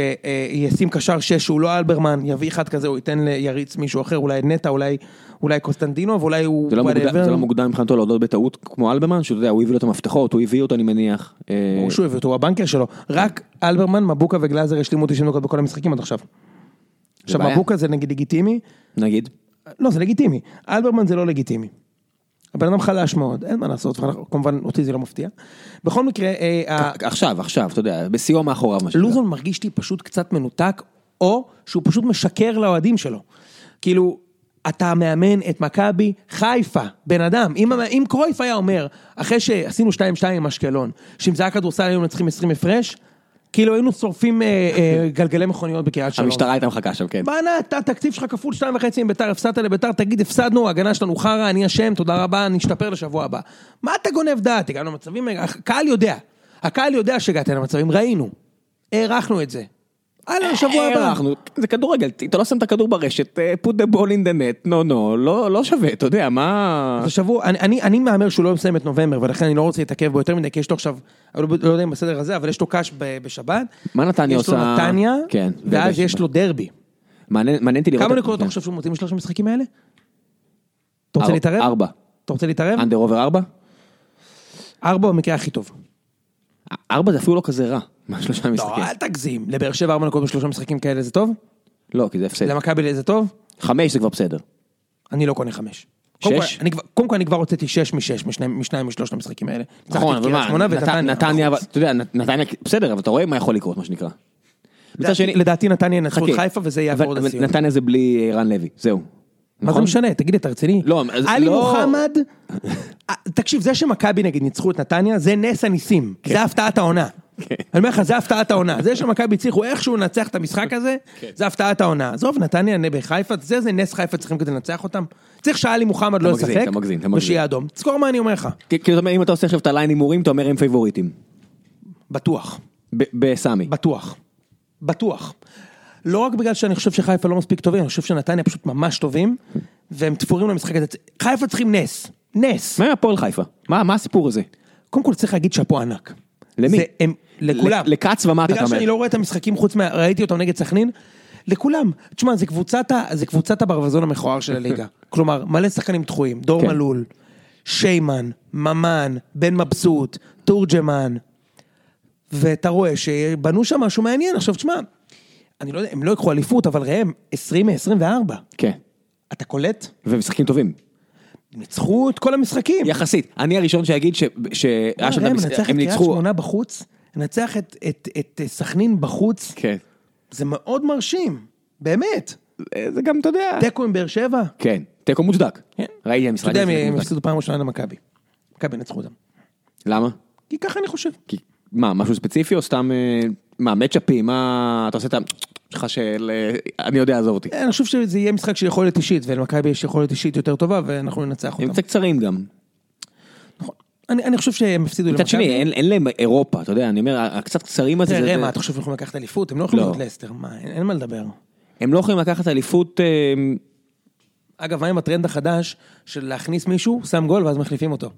A: שישים קשר שש שהוא לא אלברמן, יביא אחד כזה, הוא ייתן ליריץ מישהו אחר, אולי נטע, אולי, אולי קוסטנדינו, ואולי הוא...
B: זה לא מוקדם-
A: whatever.
B: זה לא מוקדם מבחינתו להודות בטעות כמו אלברמן, שאתה יודע, הוא הביא לו את המפתחות, הוא הביא אותו אני מניח. אה,
A: ברור שהוא הביא אותו, הוא הבנקר שלו. רק אלברמן, מבוקה וגלאזר השלימו 90 דקות בכל המשחקים עד עכשיו. עכשיו,
B: בעיה.
A: מבוקה זה נגיד לגיטימי,
B: נגיד.
A: לא, זה לגיטימי. אלברמן זה לא לגיטימי. הבן אדם חלש מאוד, אין מה לעשות, כמובן אותי זה לא מפתיע. בכל מקרה, אה, ה-
B: עכשיו, עכשיו, אתה יודע, בסיוע מאחוריו. מה שנקרא.
A: לוזון מרגיש לי פשוט קצת מנותק, או שהוא פשוט משקר לאוהדים שלו. כאילו, אתה מאמן את מכבי חיפה, בן אדם. אם, המ- אם קרויף היה אומר, אחרי שעשינו 2-2 עם אשקלון, שאם זה היה כדורסל היינו מנצחים 20 הפרש, כאילו היינו שורפים אה, אה, גלגלי מכוניות בקריית שלום.
B: המשטרה הייתה מחכה שם, כן.
A: בואנה, אתה התקציב שלך כפול שתיים וחצי עם ביתר, הפסדת לביתר, תגיד, הפסדנו, ההגנה שלנו חרא, אני אשם, תודה רבה, נשתפר לשבוע הבא. מה אתה גונב דעת? הגענו למצבים, הקהל יודע. הקהל יודע שהגעת למצבים, ראינו. הערכנו את זה.
B: אה,
A: הלאה, לשבוע הבא.
B: אנחנו, זה כדורגל, אתה לא שם את הכדור ברשת, אה, put the ball in the net, no no, לא, לא שווה, אתה יודע, מה...
A: אז השבוע, אני, אני, אני מהמר שהוא לא מסיים את נובמבר, ולכן אני לא רוצה להתעכב בו יותר מדי, כי יש לו עכשיו, אני לא, לא יודע אם בסדר הזה, אבל יש לו קאש ב- בשבת.
B: מה נתניה
A: יש
B: עושה?
A: לו נתניה,
B: כן,
A: ואז
B: ובשבת.
A: יש לו דרבי.
B: מעניין מעניין אותי לראות...
A: כמה
B: את-
A: נקודות אתה
B: כן.
A: חושב שהוא מוציא משלוש המשחקים האלה? אתה רוצה
B: אר-
A: להתערב?
B: ארבע.
A: אתה רוצה להתערב?
B: אנדר עובר ארבע?
A: ארבע במקרה הכי טוב.
B: ארבע זה אפילו לא כזה רע, מהשלושה
A: לא,
B: משחקים.
A: אל תגזים. לבאר שבע ארבע נקודות בשלושה משחקים כאלה זה טוב?
B: לא, כי זה הפסד.
A: למכבי זה טוב?
B: חמש זה כבר בסדר.
A: אני לא קונה חמש.
B: שש?
A: קודם כל, אני כבר- קודם כל אני כבר הוצאתי שש משש, משניים- משניים משלושת המשחקים האלה.
B: נכון,
A: ניצחתי את
B: אבל
A: קריית
B: מה,
A: שמונה
B: נת-
A: ונתניה.
B: נתניה, אבל- אתה יודע, נת- נתניה, בסדר, אבל אתה רואה מה יכול לקרות, מה שנקרא. מצד
A: לדעתי-
B: שני,
A: לדעתי נתניה ינצחו את
B: חכה.
A: חיפה וזה יהיה
B: אבל-
A: עבור
B: אבל
A: לסיום.
B: נתניה זה בלי אה, רן לוי, זהו.
A: מה זה
B: נכון?
A: משנה? תגיד לי, אתה רציני?
B: לא, אז-
A: עלי
B: לא.
A: מוחמד, אה, תקשיב, זה שמכבי נגיד ניצחו את נתניה, זה נס הניסים. זה הפתעת העונה.
B: כן.
A: אני אומר לך, זה הפתעת העונה. זה שמכבי הצליחו איכשהו לנצח את המשחק הזה,
B: כן.
A: זה הפתעת העונה. עזוב, נתניה נ- בחיפה, זה זה נס חיפה צריכים כדי לנצח אותם. צריך שעלי מוחמד לא
B: מגזים,
A: ישחק,
B: אתה מגזים, אתה מגזים.
A: ושיהיה אדום. תזכור מה אני אומר לך,
B: כי- כאילו, אתה אומר, אם אתה עושה עכשיו את הליין הימורים, אתה אומר הם פייבוריטים.
A: בטוח.
B: ב- בסמי.
A: בטוח. בטוח. לא רק בגלל שאני חושב שחיפה לא מספיק טובים, אני חושב שנתניה פשוט ממש טובים, והם תפורים למשחק הזה. חיפה צריכים נס. נס.
B: מה עם הפועל חיפה? מה מה הסיפור הזה?
A: קודם כל צריך להגיד שאפו ענק.
B: למי?
A: זה הם, לכולם.
B: ל- לכץ ומה אתה
A: בגלל
B: אומר?
A: שאני לא רואה את המשחקים חוץ מה... ראיתי אותם נגד סכנין. לכולם. תשמע, זה קבוצת, ה- זה קבוצת הברווזון המכוער של הליגה. כלומר, מלא שחקנים דחויים. דור
B: כן.
A: מלול, שיימן, ממן, בן מבסוט, תורג'מן. ואתה רואה שבנו שם משהו מעניין. עכשיו, תשמע, אני לא יודע, הם לא יקחו אליפות, אבל ראם, 20 מ-24.
B: כן.
A: אתה קולט?
B: ומשחקים טובים.
A: ניצחו את כל המשחקים.
B: יחסית. אני הראשון שיגיד ש- שהיה שם את
A: אה, ראם,
B: המשחק,
A: נצח את
B: הם
A: קריית
B: ניצחו...
A: שמונה בחוץ, נצח את- את- את אה, סכנין בחוץ,
B: כן.
A: זה מאוד מרשים, באמת.
B: אה, זה גם, אתה יודע...
A: תיקו עם באר שבע.
B: כן. תיקו מוצדק. ראיתי את
A: אתה
B: המשחק
A: יודע,
B: הזה.
A: הם
B: תיקו
A: הם
B: מוצדק.
A: הפסידו פעם ראשונה למכבי. מכבי ינצחו אותם.
B: למה?
A: כי ככה אני חושב.
B: כי מה, משהו ספציפי או סתם... אה, מה, מצ'אפים? מה... אתה עושה את ה... שלך של... אה, אני יודע, עזוב אותי.
A: כן, אני חושב שזה יהיה משחק של יכולת אישית, ולמכבי יש יכולת אישית יותר טובה, ואנחנו ננצח
B: הם
A: אותם.
B: קצת קצרים גם.
A: אני אני חושב שהם הפסידו למכבי.
B: מצד שני, אין- אין להם אירופה, אתה יודע, אני אומר, הקצת קצרים הזה...
A: תראה,
B: זה-
A: ראם,
B: זה-
A: מה, אתה חושב שהם יכולים לקחת אליפות? הם לא יכולים
B: לא.
A: להיות לסטר, מה, אין אין מה לדבר.
B: הם לא יכולים לקחת אליפות... אה,
A: אגב, מה עם הטרנד החדש של להכניס מישהו, שם גול ואז מחליפים אותו?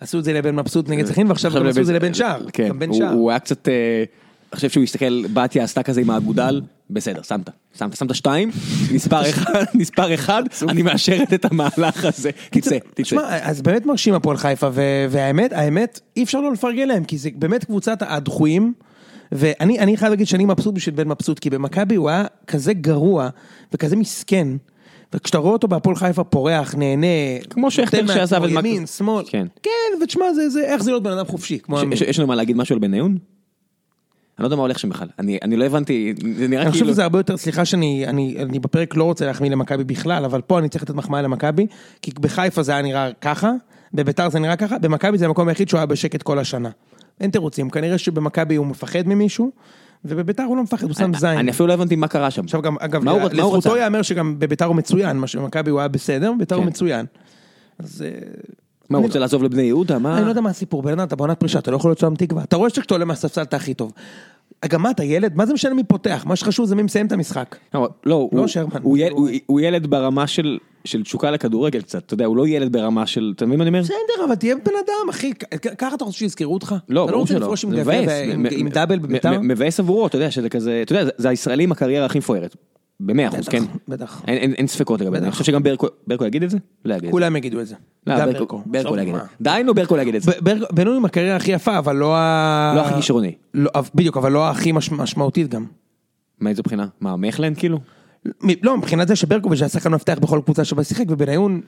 A: עשו את זה לבן מבסוט נגד סכין, ועכשיו גם עשו את זה לבן שער.
B: אה, כן,
A: גם בן
B: הוא-
A: שער.
B: הוא היה קצת, אה, אני חושב שהוא הסתכל, בתיה עשתה כזה עם האגודל, בסדר, שמת, שמת, שמת שתיים, מספר אחד, מספר אחד, אני מאשרת את המהלך הזה, תצא, תצא.
A: תשמע, אז באמת מרשים הפועל חיפה, ו- והאמת, האמת, אי אפשר לא לפרגן להם, כי זה באמת קבוצת הדחויים, ואני אני חייב להגיד שאני מבסוט בשביל בן מבסוט, כי במכבי הוא היה כזה גרוע, וכזה מסכן, וכשאתה רואה אותו בהפועל חיפה פורח, נהנה,
B: כמו שכטר
A: נותן
B: שעזב
A: מעצמו,
B: את מכבי.
A: ימין, שמאל,
B: כן.
A: כן, ותשמע, זה, זה, איך זה להיות בן אדם חופשי, כמו
B: יש-
A: אמין.
B: יש- יש לנו מה להגיד משהו על בניון? אני לא יודע מה הולך שם בכלל, אני אני לא הבנתי, זה נראה
A: אני חושב
B: כאילו,
A: שזה הרבה יותר, סליחה שאני אני, אני בפרק לא רוצה להחמיא למכבי בכלל, אבל פה אני צריך לתת מחמאה למכבי, כי בחיפה זה היה נראה ככה, בביתר זה נראה ככה, במכבי זה המקום היחיד שהוא היה בשקט כל השנה. אין תירוצים, כנראה שבמכבי הוא מפחד ממישהו, ובביתר הוא לא מפחד, הוא שם זין.
B: אני אפילו לא הבנתי מה קרה שם.
A: עכשיו גם, אגב,
B: מה הוא רצה? מה הוא
A: לזכותו
B: רצה?
A: ייאמר שגם בביתר הוא מצוין, מה שבמכבי הוא היה בסדר, בביתר הוא
B: כן.
A: מצוין. אז... אה,
B: מה, הוא רוצה לעזוב לבני יהודה? מה?
A: לא אני לא יודע מה הסיפור, בן אדם, אתה בעונת פרישה, אתה לא יכול להיות שם תקווה. אתה רואה שכשאתה עולה מהספסל אתה הכי טוב. גם מה, אתה ילד? מה זה משנה מי פותח? מה שחשוב זה מי מסיים את המשחק.
B: לא, לא,
A: לא
B: הוא-
A: שרמן.
B: הוא יל- הוא- הוא ילד ברמה של של תשוקה לכדורגל קצת, אתה יודע, הוא לא ילד ברמה של, אתה מבין מה אני אומר?
A: בסדר, אבל תהיה בן אדם, אחי. כ- ככה אתה רוצה שיזכרו אותך?
B: לא,
A: אתה לא
B: ברור
A: רוצה
B: שלא.
A: לפרוש עם
B: זה
A: גביע
B: מבאס.
A: ועם-
B: מ-
A: עם
B: מ-
A: דאבל
B: מ-
A: בביתר?
B: מ- מבאס עבורו, אתה יודע שזה כזה, אתה יודע, זה- זה הישראלים הקריירה הכי מפוארת. במאה אחוז,
A: בטח,
B: כן?
A: בטח.
B: אין- אין אין ספקות לגבי זה. אני חושב שגם ברקו, ברקו יגיד את זה? לא יגיד. את זה.
A: כולם יגידו את זה.
B: לא,
A: גם
B: ברקו- ברקו
A: עזוב,
B: יגיד את
A: מה.
B: זה. דהיינו ברקו יגיד את זה.
A: ב- ברקו- בינוני עם הקריירה הכי יפה, אבל לא ה...
B: לא הכי כישרוני.
A: לא, אבל- בדיוק, אבל לא הכי מש- משמעותית גם.
B: מאיזו בחינה? מה, מכלן כאילו?
A: מ- לא, מבחינת זה שברקוביץ' היה שחקן מפתח בכל קבוצה שבה שיחק, ובניון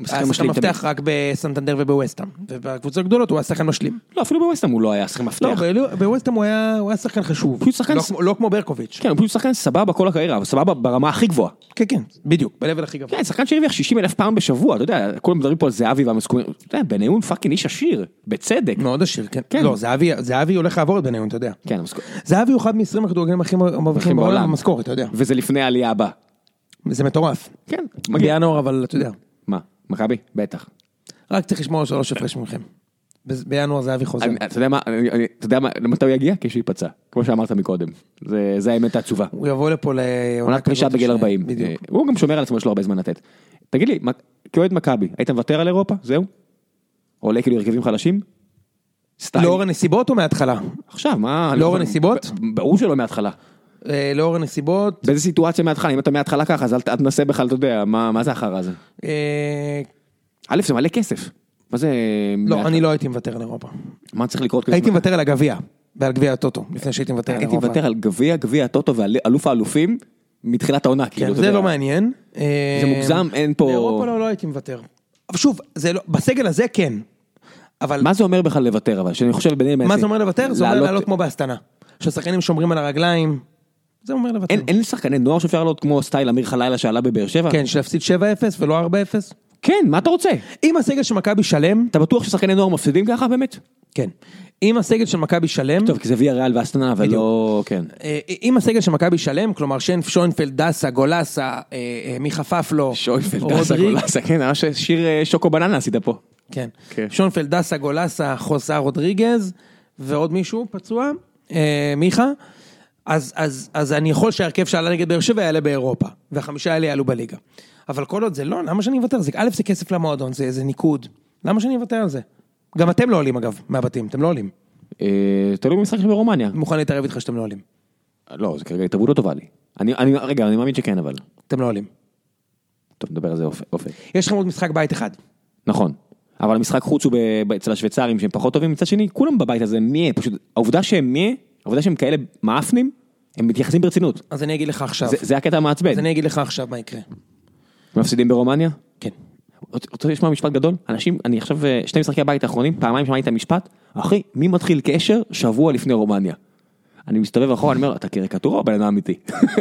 B: משחקן
A: היה שחקן
B: משלים תמיד.
A: מפתח רק בסנטנדר ובווסטהאם. ובקבוצות הגדולות הוא היה שחקן משלים.
B: לא, אפילו בווסטהאם הוא לא היה שחקן
A: לא,
B: מפתח.
A: אבל בווסטהאם הוא היה הוא היה שחקן חשוב.
B: פשוט שחקן
A: לא
B: ס-
A: כמו- לא כמו ברקוביץ'.
B: כן, הוא פשוט שחקן סבבה כל הקריירה, אבל סבבה ברמה הכי גבוהה.
A: כן, כן, בדיוק, ב-level הכי גבוה.
B: כן, שחקן שהרוויח 60 אלף פעם בשבוע, אתה יודע, כולם מדברים פה על זהבי והמסכומים, אתה יודע, בניון פאקינג איש עשיר, בצדק.
A: מאוד עשיר, כן.
B: כן.
A: לא, זהבי- זהבי הולך לעבור את בניון, אתה יודע.
B: כן, המסכומים.
A: זהבי הוא אחד מ-20 הכדורגלים הכי מרוויחים בעולם במשכורת, אתה יודע.
B: וזה לפני העלייה הבאה.
A: זה מטורף.
B: כן, מגיע.
A: בינואר, אבל אתה יודע.
B: מה, מכבי? בטח.
A: רק צריך לשמור על שלוש הפרש ממכם. ב- בינואר זהבי חוזר.
B: אני- אתה יודע מה, אני- אני- אתה יודע מה, למתי הוא יגיע? כשהוא ייפצע, כמו שאמרת מקודם. זה- זה האמת העצובה.
A: הוא יבוא לפה ל...
B: עונת פרישה בגיל 40.
A: בדיוק.
B: אה, הוא גם שומר על עצמו, יש לו הרבה זמן לתת. תגיד לי, מה- כאוהד מכבי, היית מוותר על אירופה? זהו? עולה כאילו הרכבים חלשים? סטייל.
A: לאור הנסיבות או מההתחלה?
B: עכשיו, מה...
A: לאור
B: אני-
A: הנסיבות?
B: ב- ברור שלא מההתחלה.
A: אה, לאור הנסיבות,
B: באיזה סיטואציה מההתחלה? אם אתה מההתחלה ככה, אז אל ת- אל תנסה בכלל, אתה יודע, מה מה זה החרא הזה?
A: אה,
B: א', זה מלא כסף. מה זה...
A: לא,
B: מההתחלה?
A: אני לא הייתי מוותר על אירופה.
B: מה צריך לקרות? כדי
A: הייתי
B: שמכבי-
A: מוותר על הגביע, ועל גביע הטוטו, לפני שהייתי מוותר על
B: הייתי
A: אירופה.
B: מוותר על גביע, גביע הטוטו ואלוף האלופים מתחילת העונה, כאילו,
A: כן,
B: אתה
A: זה
B: יודע.
A: לא מעניין. אה,
B: זה מוגזם, אין פה-
A: לאירופה לא, לא הייתי מוותר. אבל שוב, זה לא, בסגל הזה כן. אבל
B: מה זה אומר בכלל לוותר אבל? שאני חושב ביניהם...
A: מה זה אומר לוותר? זה אומר לעלות כמו בהסתנה. שהשחקנים שומרים על הרגליים, זה אומר לוותר.
B: אין, אין שחקני נוער שאפשר לעלות כמו סטייל אמיר חלילה שעלה בבאר שבע?
A: כן, שלהפסיד 7-0 ולא 4-0.
B: כן, מה אתה רוצה?
A: אם הסגל של מכבי שלם,
B: אתה בטוח ששחקני נוער מפסידים ככה באמת?
A: כן. אם הסגל של מכבי שלם,
B: טוב, כי זה ויה ריאל ואסטנה, אבל לא... כן.
A: אה, אם הסגל של מכבי שלם, כלומר שיין- שוינפלד, דסה, גולסה, אה, אה, מיכה פפלו,
B: שוינפלד,
A: רודריג-
B: דסה, גולסה, כן, ממש שיר אה, שוקו בננה עשית פה.
A: כן.
B: כן.
A: שונפלד, דסה, גולסה, חוסה, רודריגז, ועוד מישהו פצוע, אה, מיכה. אז, אז, אז אני יכול שההרכב שעלה נגד באר שבע יעלה באירופה, והחמישה האלה יעלו בליגה. אבל כל עוד זה לא, למה שאני אוותר? זה, א', זה כסף למועדון, זה, זה ניקוד. למה שאני אוותר על זה? גם אתם לא עולים אגב, מהבתים, אתם לא עולים.
B: אה, תלוי במשחק שברומניה.
A: אני מוכן להתערב איתך שאתם לא עולים.
B: לא, זה כרגע התערבות לא טובה לי. אני, אני, רגע, אני מאמין שכן, אבל...
A: אתם לא עולים.
B: טוב, נדבר על זה אופק. אופק.
A: יש לכם עוד משחק בית אחד.
B: נכון. אבל המשחק חוץ הוא ב- ב- אצל השוויצרים שהם פחות טובים, מצד שני, כולם בבית הזה מי, פשוט, העובדה שהם מי, העובדה שהם כאלה מאפנים, הם מתייחסים ברצינות.
A: אז אני אגיד לך עכשיו.
B: זה, זה הקטע המעצבן.
A: אז אני אגיד לך עכשיו מה יקרה.
B: מפסידים ברומניה?
A: כן.
B: רוצ- רוצה לשמוע משפט גדול? אנשים, אני עכשיו, אה, שני משחקי הבית האחרונים, פעמיים שמעתי את המשפט, אחי, מי מתחיל קשר שבוע לפני רומניה? אני מסתובב אחורה, אני אומר, אתה קריקטורה או בן אדם אמיתי?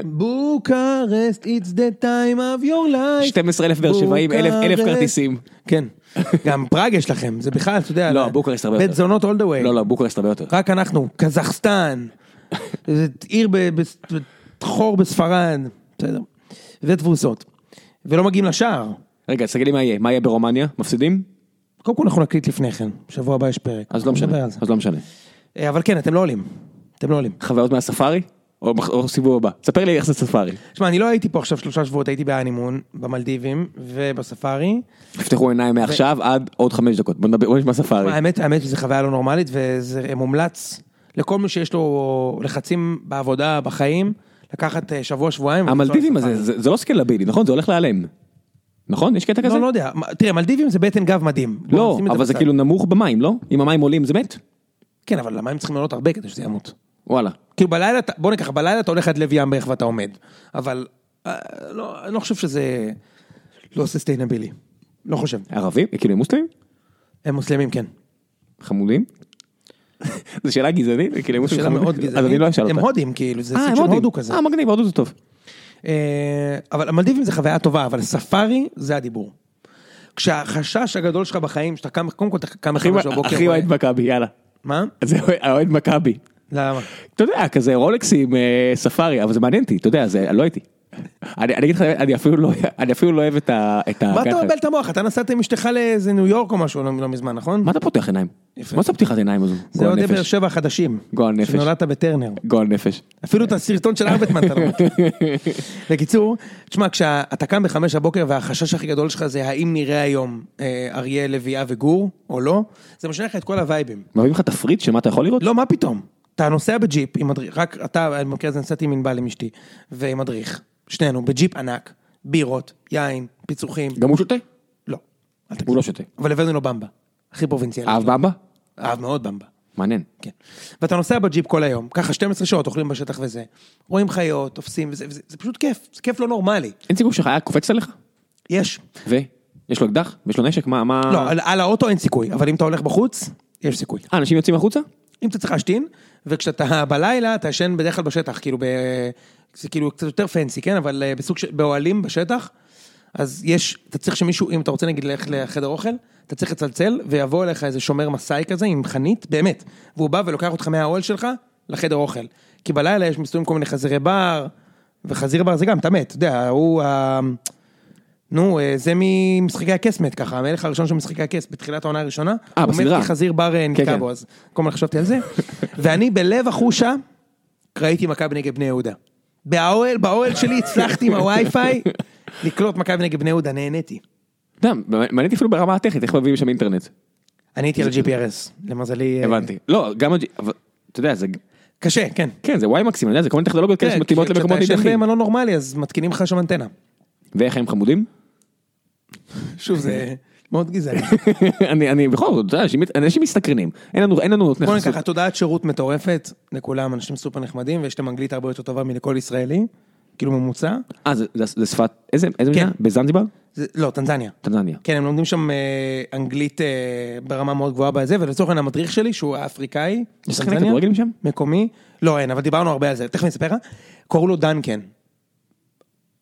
A: בוקרסט, it's the time of your life.
B: 12,000 באר שבעים, אלף- אלף
A: בוקרשט.
B: כרטיסים.
A: כן. גם פראג יש לכם, זה בכלל, אתה יודע.
B: לא, בוקרשט הרבה
A: בית
B: יותר.
A: זונות all the way.
B: לא, לא, בוקרשט הרבה יותר.
A: רק אנחנו, קזחסטן. זה עיר ב... ב- ב- חור בספרד. בסדר. ותבוסות. ולא מגיעים לשער.
B: רגע, תסתכל לי מה יהיה, מה יהיה ברומניה? מפסידים?
A: קודם כל אנחנו נקליט לפני כן, שבוע הבא יש פרק.
B: אז לא משנה,
A: נדבר על זה.
B: אז לא משנה.
A: אה, אבל כן, אתם לא עולים. אתם לא עולים.
B: חוויות מהספארי? או מח- או סיבוב הבא? ספר לי איך זה ספארי.
A: תשמע, אני לא הייתי פה עכשיו שלושה שבועות, הייתי בהנימון, במלדיבים ובספארי.
B: תפתחו עיניים מעכשיו עד עוד חמש דקות. בוא נדבר, בוא נשמע ספארי.
A: האמת, האמת שזו חוויה לא נורמלית וזה מומלץ לכל מי שיש לו לחצים בעבודה, בחיים, לקחת אה, שבוע, שבועיים. ולנסוע
B: המלדיבים
A: לספארי.
B: הזה, זה זה לא סקלבילי, נכון? זה הולך להיעלם. נכון? יש קטע כזה?
A: לא, לא יודע. מה- תראה, מלדיבים זה בטן גב מדהים. בוא
B: לא,
A: נשים את
B: אבל זה
A: בצד.
B: כאילו נמוך במים, לא? אם המים עולים זה מת?
A: כן, אבל למים צריכים לעלות הרבה כדי שזה ימות.
B: וואלה.
A: כאילו בלילה, אתה- בוא ניקח, בלילה אתה הולך עד לב ים בערך ואתה עומד. אבל אה, לא, אני לא חושב שזה לא ססטיינבילי. לא חושב.
B: ערבים? כאילו הם מוסלמים?
A: הם מוסלמים, כן.
B: חמודים? זו שאלה גזענית? כאילו הם מוסלמים
A: שאלה מאוד
B: חמודים? אז אני
A: גזענית.
B: לא אשאל אותה.
A: הם הודים, כאילו, זה
B: אה,
A: סוג
B: הם
A: של
B: הודים.
A: הודו כזה.
B: אה, מגניב, הודו זה טוב.
A: אה, אבל המלדיבים זה חוויה טובה, אבל ספארי זה הדיבור. כשהחשש הגדול שלך בחיים, שאתה קם, קודם כל אתה קם
B: הכי-
A: בחמש בבוקר,
B: הכי
A: רואה-
B: אוהד מכבי, יאללה.
A: מה?
B: זה אוהד מכבי.
A: למה?
B: אתה יודע, כזה רולקסים, אה, ספארי, אבל זה מעניין אותי, אתה יודע, זה, לא הייתי. אני אני אגיד לך, אני אפילו לא- אני אפילו לא אוהב את ה... את ה-
A: מה אתה
B: ככה.
A: מבלבל את המוח? אתה נסעת עם אשתך לאיזה ניו יורק או משהו לא לא מזמן, נכון?
B: מה אתה פותח עיניים? מה זה הפתיחת עיניים הזו?
A: זה
B: גועל
A: אוהדי באר
B: נפש.
A: שבע החדשים.
B: גועל נפש.
A: שנולדת בטרנר.
B: גועל נפש.
A: אפילו את הסרטון של ארבטמן אתה לא מכיר. בקיצור, תשמע, כשאתה קם בחמש הבוקר והחשש הכי גדול שלך זה האם נראה היום אה, אריה, לביאה וגור, או לא, זה משנה לך את כל הווייבים.
B: מביאים לך תפריט של מה אתה יכול לראות?
A: לא, מה פתאום? אתה נוסע בג'יפ עם מדריך, רק אתה, אני במקרה הזה נסעתי עם ענבל עם אשתי, ועם מדריך, שנינו, בג'יפ ענק, בירות, יין, פיצוחים,
B: גם הוא שותה?
A: לא. אל תגזים.
B: הוא לא שותה.
A: אבל הבאנו לו במבה, הכי פרובינציאלי.
B: אהב במבה?
A: אהב מאוד במבה.
B: מעניין.
A: כן. ואתה נוסע בג'יפ כל היום, ככה 12 שעות אוכלים בשטח וזה, רואים חיות, תופסים, וזה, וזה, זה פשוט כיף, זה כיף לא נורמלי.
B: אין סיכוי שחיה קופצת עליך?
A: יש.
B: ו? יש לו אקדח? ויש לו נשק? מה? מה...
A: לא, על, על האוטו אין סיכוי, אבל אם אתה הולך בחוץ, יש סיכוי.
B: אה, אנשים יוצאים החוצה?
A: אם אתה צריך להשתין, וכשאתה בלילה, אתה ישן בדרך כלל בשטח, כאילו ב... זה כאילו קצת יותר פנסי, כן? אבל אה, בסוג של... באוהלים בשטח, אז יש, אתה צריך שמישהו, אם אתה רוצה נגיד ללכת לחדר אוכל, אתה צריך לצלצל, ויבוא אליך איזה שומר מסאי כזה עם חנית, באמת, והוא בא ולוקח אותך מהאוהל שלך לחדר אוכל. כי בלילה יש מסתובבים כל מיני חזירי בר, וחזיר בר זה גם, אתה מת, אתה יודע, הוא ה... נו, אה, זה ממשחקי הכס מת ככה, המלך הראשון של משחקי הכס, בתחילת העונה הראשונה.
B: אה, בסדרה.
A: הוא מת כחזיר בר אה, נתקע
B: כן.
A: בו, אז כל הזמן חשבתי על זה. ואני בלב החושה, ראיתי מכבי נגד בני יהודה. באוהל, באוהל שלי הצלחתי עם הווי-פיי לקלוט מכבי נגד בני יהודה, נהניתי.
B: אתה יודע, מעניין אותי אפילו ברמה הטכנית, איך מביאים שם אינטרנט.
A: אני הייתי על ה-GPRS, למזלי... אה,
B: הבנתי. לא, גם... הג'- אבל, אתה יודע, זה...
A: קשה, כן.
B: כן, זה וואי מקסים, אני יודע, זה כל מיני טכנולוגיות כאלה שמתאימות כן, למקומות
A: כשאתה ישן
B: נידחים.
A: במלון נורמלי, אז מתקינים לך שם אנטנה.
B: ואיך הם חמודים?
A: שוב, זה מאוד גזעני.
B: נכון. אני, אני בכל זאת, אתה יודע, אנשים- אנשים מסתקרנים. אין לנו, אין לנו נותני
A: בוא
B: חסות.
A: ניקח, התודעת שירות מטורפת לכולם, אנשים סופר נחמדים, ויש להם אנגלית הרבה יותר טובה מלכל ישראלי, כאילו ממוצע.
B: אה, זה, זה, זה שפת, איזה, איזה
A: כן.
B: מדינה? בזנזיבר?
A: זה- לא, טנזניה.
B: טנזניה.
A: כן, הם לומדים שם אה, אנגלית אה, ברמה מאוד גבוהה בזה, ולצורך העניין המדריך שלי, שהוא האפריקאי,
B: משחק
A: מטנזניה,
B: כדורגל משם?
A: מקומי, לא אין, אבל דיברנו הרבה על זה, תכף אני אספר לך, קראו לו דנקן.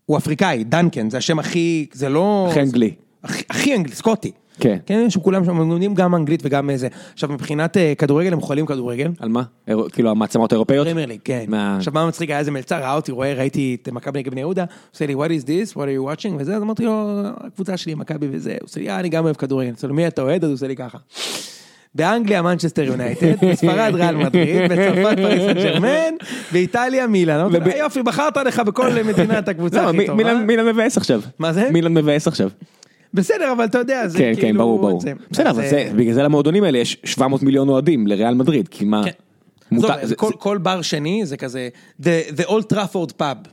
A: הוא אפריקאי, דנקן, זה השם הכי, זה לא...
B: הכי אנגלי.
A: הכי- הכי אנגלי, סקוטי.
B: כן.
A: כן, שכולם שם הם לומדים גם אנגלית וגם אה, זה. עכשיו, מבחינת אה, כדורגל, הם חולים כדורגל.
B: על מה? אירו- כאילו המעצמות האירופאיות?
A: פרמייר ליג, כן.
B: מה-
A: עכשיו מה מצחיק, היה איזה מלצר, ראה אותי, רואה, ראיתי את מכבי נגד בני יהודה, עושה לי, what is this, what are you watching, וזה, אז אמרתי לו, הקבוצה שלי, מכבי וזה, הוא עושה לי, אה, אני גם אוהב כדורגל, עושה לו, מי אתה אוהד? אז הוא עושה לי ככה. באנגליה, מנצ'סטר יונייטד, בספרד, ריאל מדריד, בצרפת, פריס סן ג'רמן, באיטליה, מילאן. אמרתי לו, "אה, יופי, בחרת לך בכל מדינה את הקבוצה
B: למה?
A: הכי
B: לא,
A: טובה.
B: מי- מילן- מילן מבאס עכשיו.
A: מה זה?
B: מילן מבאס עכשיו.
A: בסדר, אבל אתה יודע, זה
B: כן,
A: כאילו...
B: כן, ברור, ברור.
A: זה-
B: בסדר,
A: אז,
B: אבל
A: אה,
B: זה, בגלל זה למועדונים האלה יש 700 מיליון אוהדים לריאל מדריד, כי מה...
A: כן.
B: מותר-
A: עזוב,
B: זה-
A: כל-
B: זה-
A: כל בר שני זה כזה, the the Old Trafford Pub.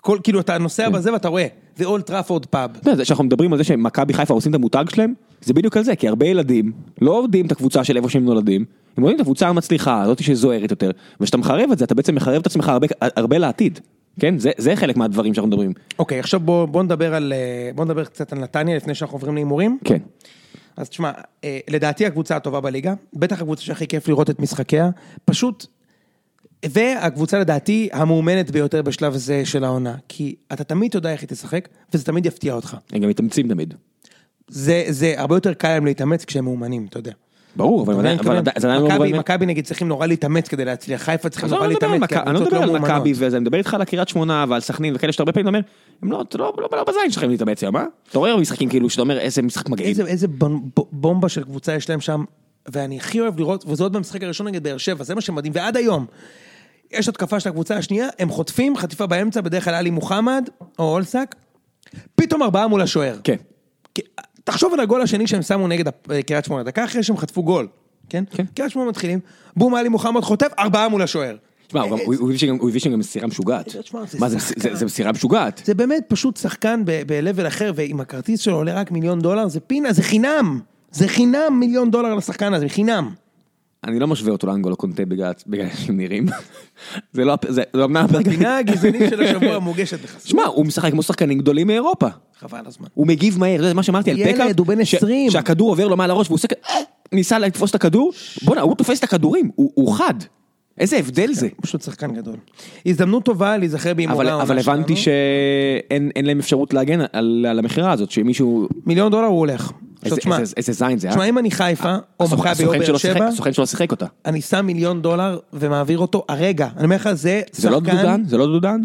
A: כל, כאילו, אתה נוסע בזה ואתה רואה, the Old Trafford Pub.
B: אתה יודע, זה שאנחנו מדברים על זה שמכבי חיפה עושים את המותג שלהם, זה בדיוק על זה, כי הרבה ילדים לא אוהדים את הקבוצה של איפה שהם נולדים, הם אוהדים את הקבוצה המצליחה, הזאת שזוהרת יותר, וכשאתה מחרב את זה, אתה בעצם מחרב את עצמך הרבה- הרבה לעתיד, כן? זה- זה חלק מהדברים שאנחנו מדברים.
A: אוקיי, עכשיו בוא, בוא נדבר על, אה, בוא נדבר קצת על נתניה לפני שאנחנו עוברים להימורים.
B: כן.
A: אז תשמע, אה, לדעתי הקבוצה הטובה בליגה, בטח הקבוצה שהכי כיף לראות את משחקיה, פשוט, והקבוצה לדעתי המאומנת ביותר בשלב זה של העונה, כי אתה תמיד יודע איך היא תשחק, וזה תמיד יפתיע אותך.
B: הם גם מתאמצים תמיד.
A: זה, זה הרבה יותר קל להם להתאמץ כשהם מאומנים, אתה יודע.
B: ברור, אבל הם עדיין- אבל עדיין- זה עדיין
A: כאילו,
B: לא
A: מכבי-
B: מובן מאליו.
A: מכבי נגיד צריכים נורא להתאמץ כדי להצליח, חיפה צריכים
B: עזוב,
A: נורא
B: אני לא מדבר על
A: להתאמץ, כי
B: מכבי- אני לא
A: הקבוצות
B: מדבר
A: לא
B: על
A: מאומנות.
B: מכבי וזה, אני מדבר איתך על קריית שמונה ועל סכנין וכאלה שאתה הרבה פעמים אומר, הם לא, אתה לא לא- לא בזין שלכם להתאמץ היום, אה? אתה רואה משחקים כאילו שאתה אומר איזה משחק מגעיל.
A: איזה, איזה בונ- ב- בומבה של קבוצה יש להם שם, ואני הכי אוהב לראות, וזה עוד במשחק הראשון נגד באר שבע, זה מה שמדהים, ועד היום. יש התקפה של הקבוצה השנייה, הם חוטפים, חטיפה באמצע, בדרך כלל עלי מוחמד, או אולסק, פתאום ארבעה מול השוער.
B: כן.
A: כי- תחשוב על הגול השני שהם שמו נגד הפ- אה, קריית שמונה, דקה אחרי שהם חטפו גול, כן?
B: כן.
A: קריית שמונה מתחילים, בום, עלי מוחמד חוטף, ארבעה מול השוער.
B: תשמע, הוא גם- הוא- הוא הביא שגם- הוא הביא שם גם מסירה משוגעת.
A: קריית שמונה זה
B: מה זה-
A: שחקן.
B: זה זה מסירה משוגעת.
A: זה באמת פשוט שחקן ב- ב-level אחר, ואם הכרטיס שלו עולה רק מיליון דולר, זה פינה, זה חינם. זה חינם מיליון דולר לשחקן הזה, חינם.
B: אני לא משווה אותו לאנגולו קונטה בגלל בגלל שהם נראים. זה לא, הפ- זה זה אמנם הפרק.
A: הפינה הגזענית של השבוע מוגשת לך.
B: שמע, הוא משחק כמו שחקנים גדולים מאירופה.
A: חבל הזמן.
B: הוא מגיב מהר, זה מה שאמרתי על
A: ילד,
B: פקארט.
A: הוא בן
B: ש-
A: 20.
B: שהכדור עובר לו מעל הראש והוא עושה כ- אה, ניסה לתפוס את הכדור, בואנה, הוא תופס את הכדורים, הוא הוא חד. איזה הבדל זה.
A: הוא פשוט שחקן גדול. הזדמנות טובה להיזכר בהימורי
B: אבל,
A: העונה
B: אבל הבנתי
A: שלנו.
B: שאין אין להם אפשרות להגן על, על המכירה הזאת, שמישהו...
A: מיליון דולר הוא הולך.
B: איזה,
A: עכשיו תשמע,
B: איזה, איזה זין זה,
A: תשמע, אם אני חיפה, או
B: הסוכ-
A: מכבי או
B: הסוכן
A: באר
B: שלו שיחק-
A: שבע,
B: הסוכן שלו שיחק אותה.
A: אני שם מיליון דולר ומעביר אותו הרגע. אני אומר לך, זה שחקן...
B: זה לא דודן? זה לא דודן?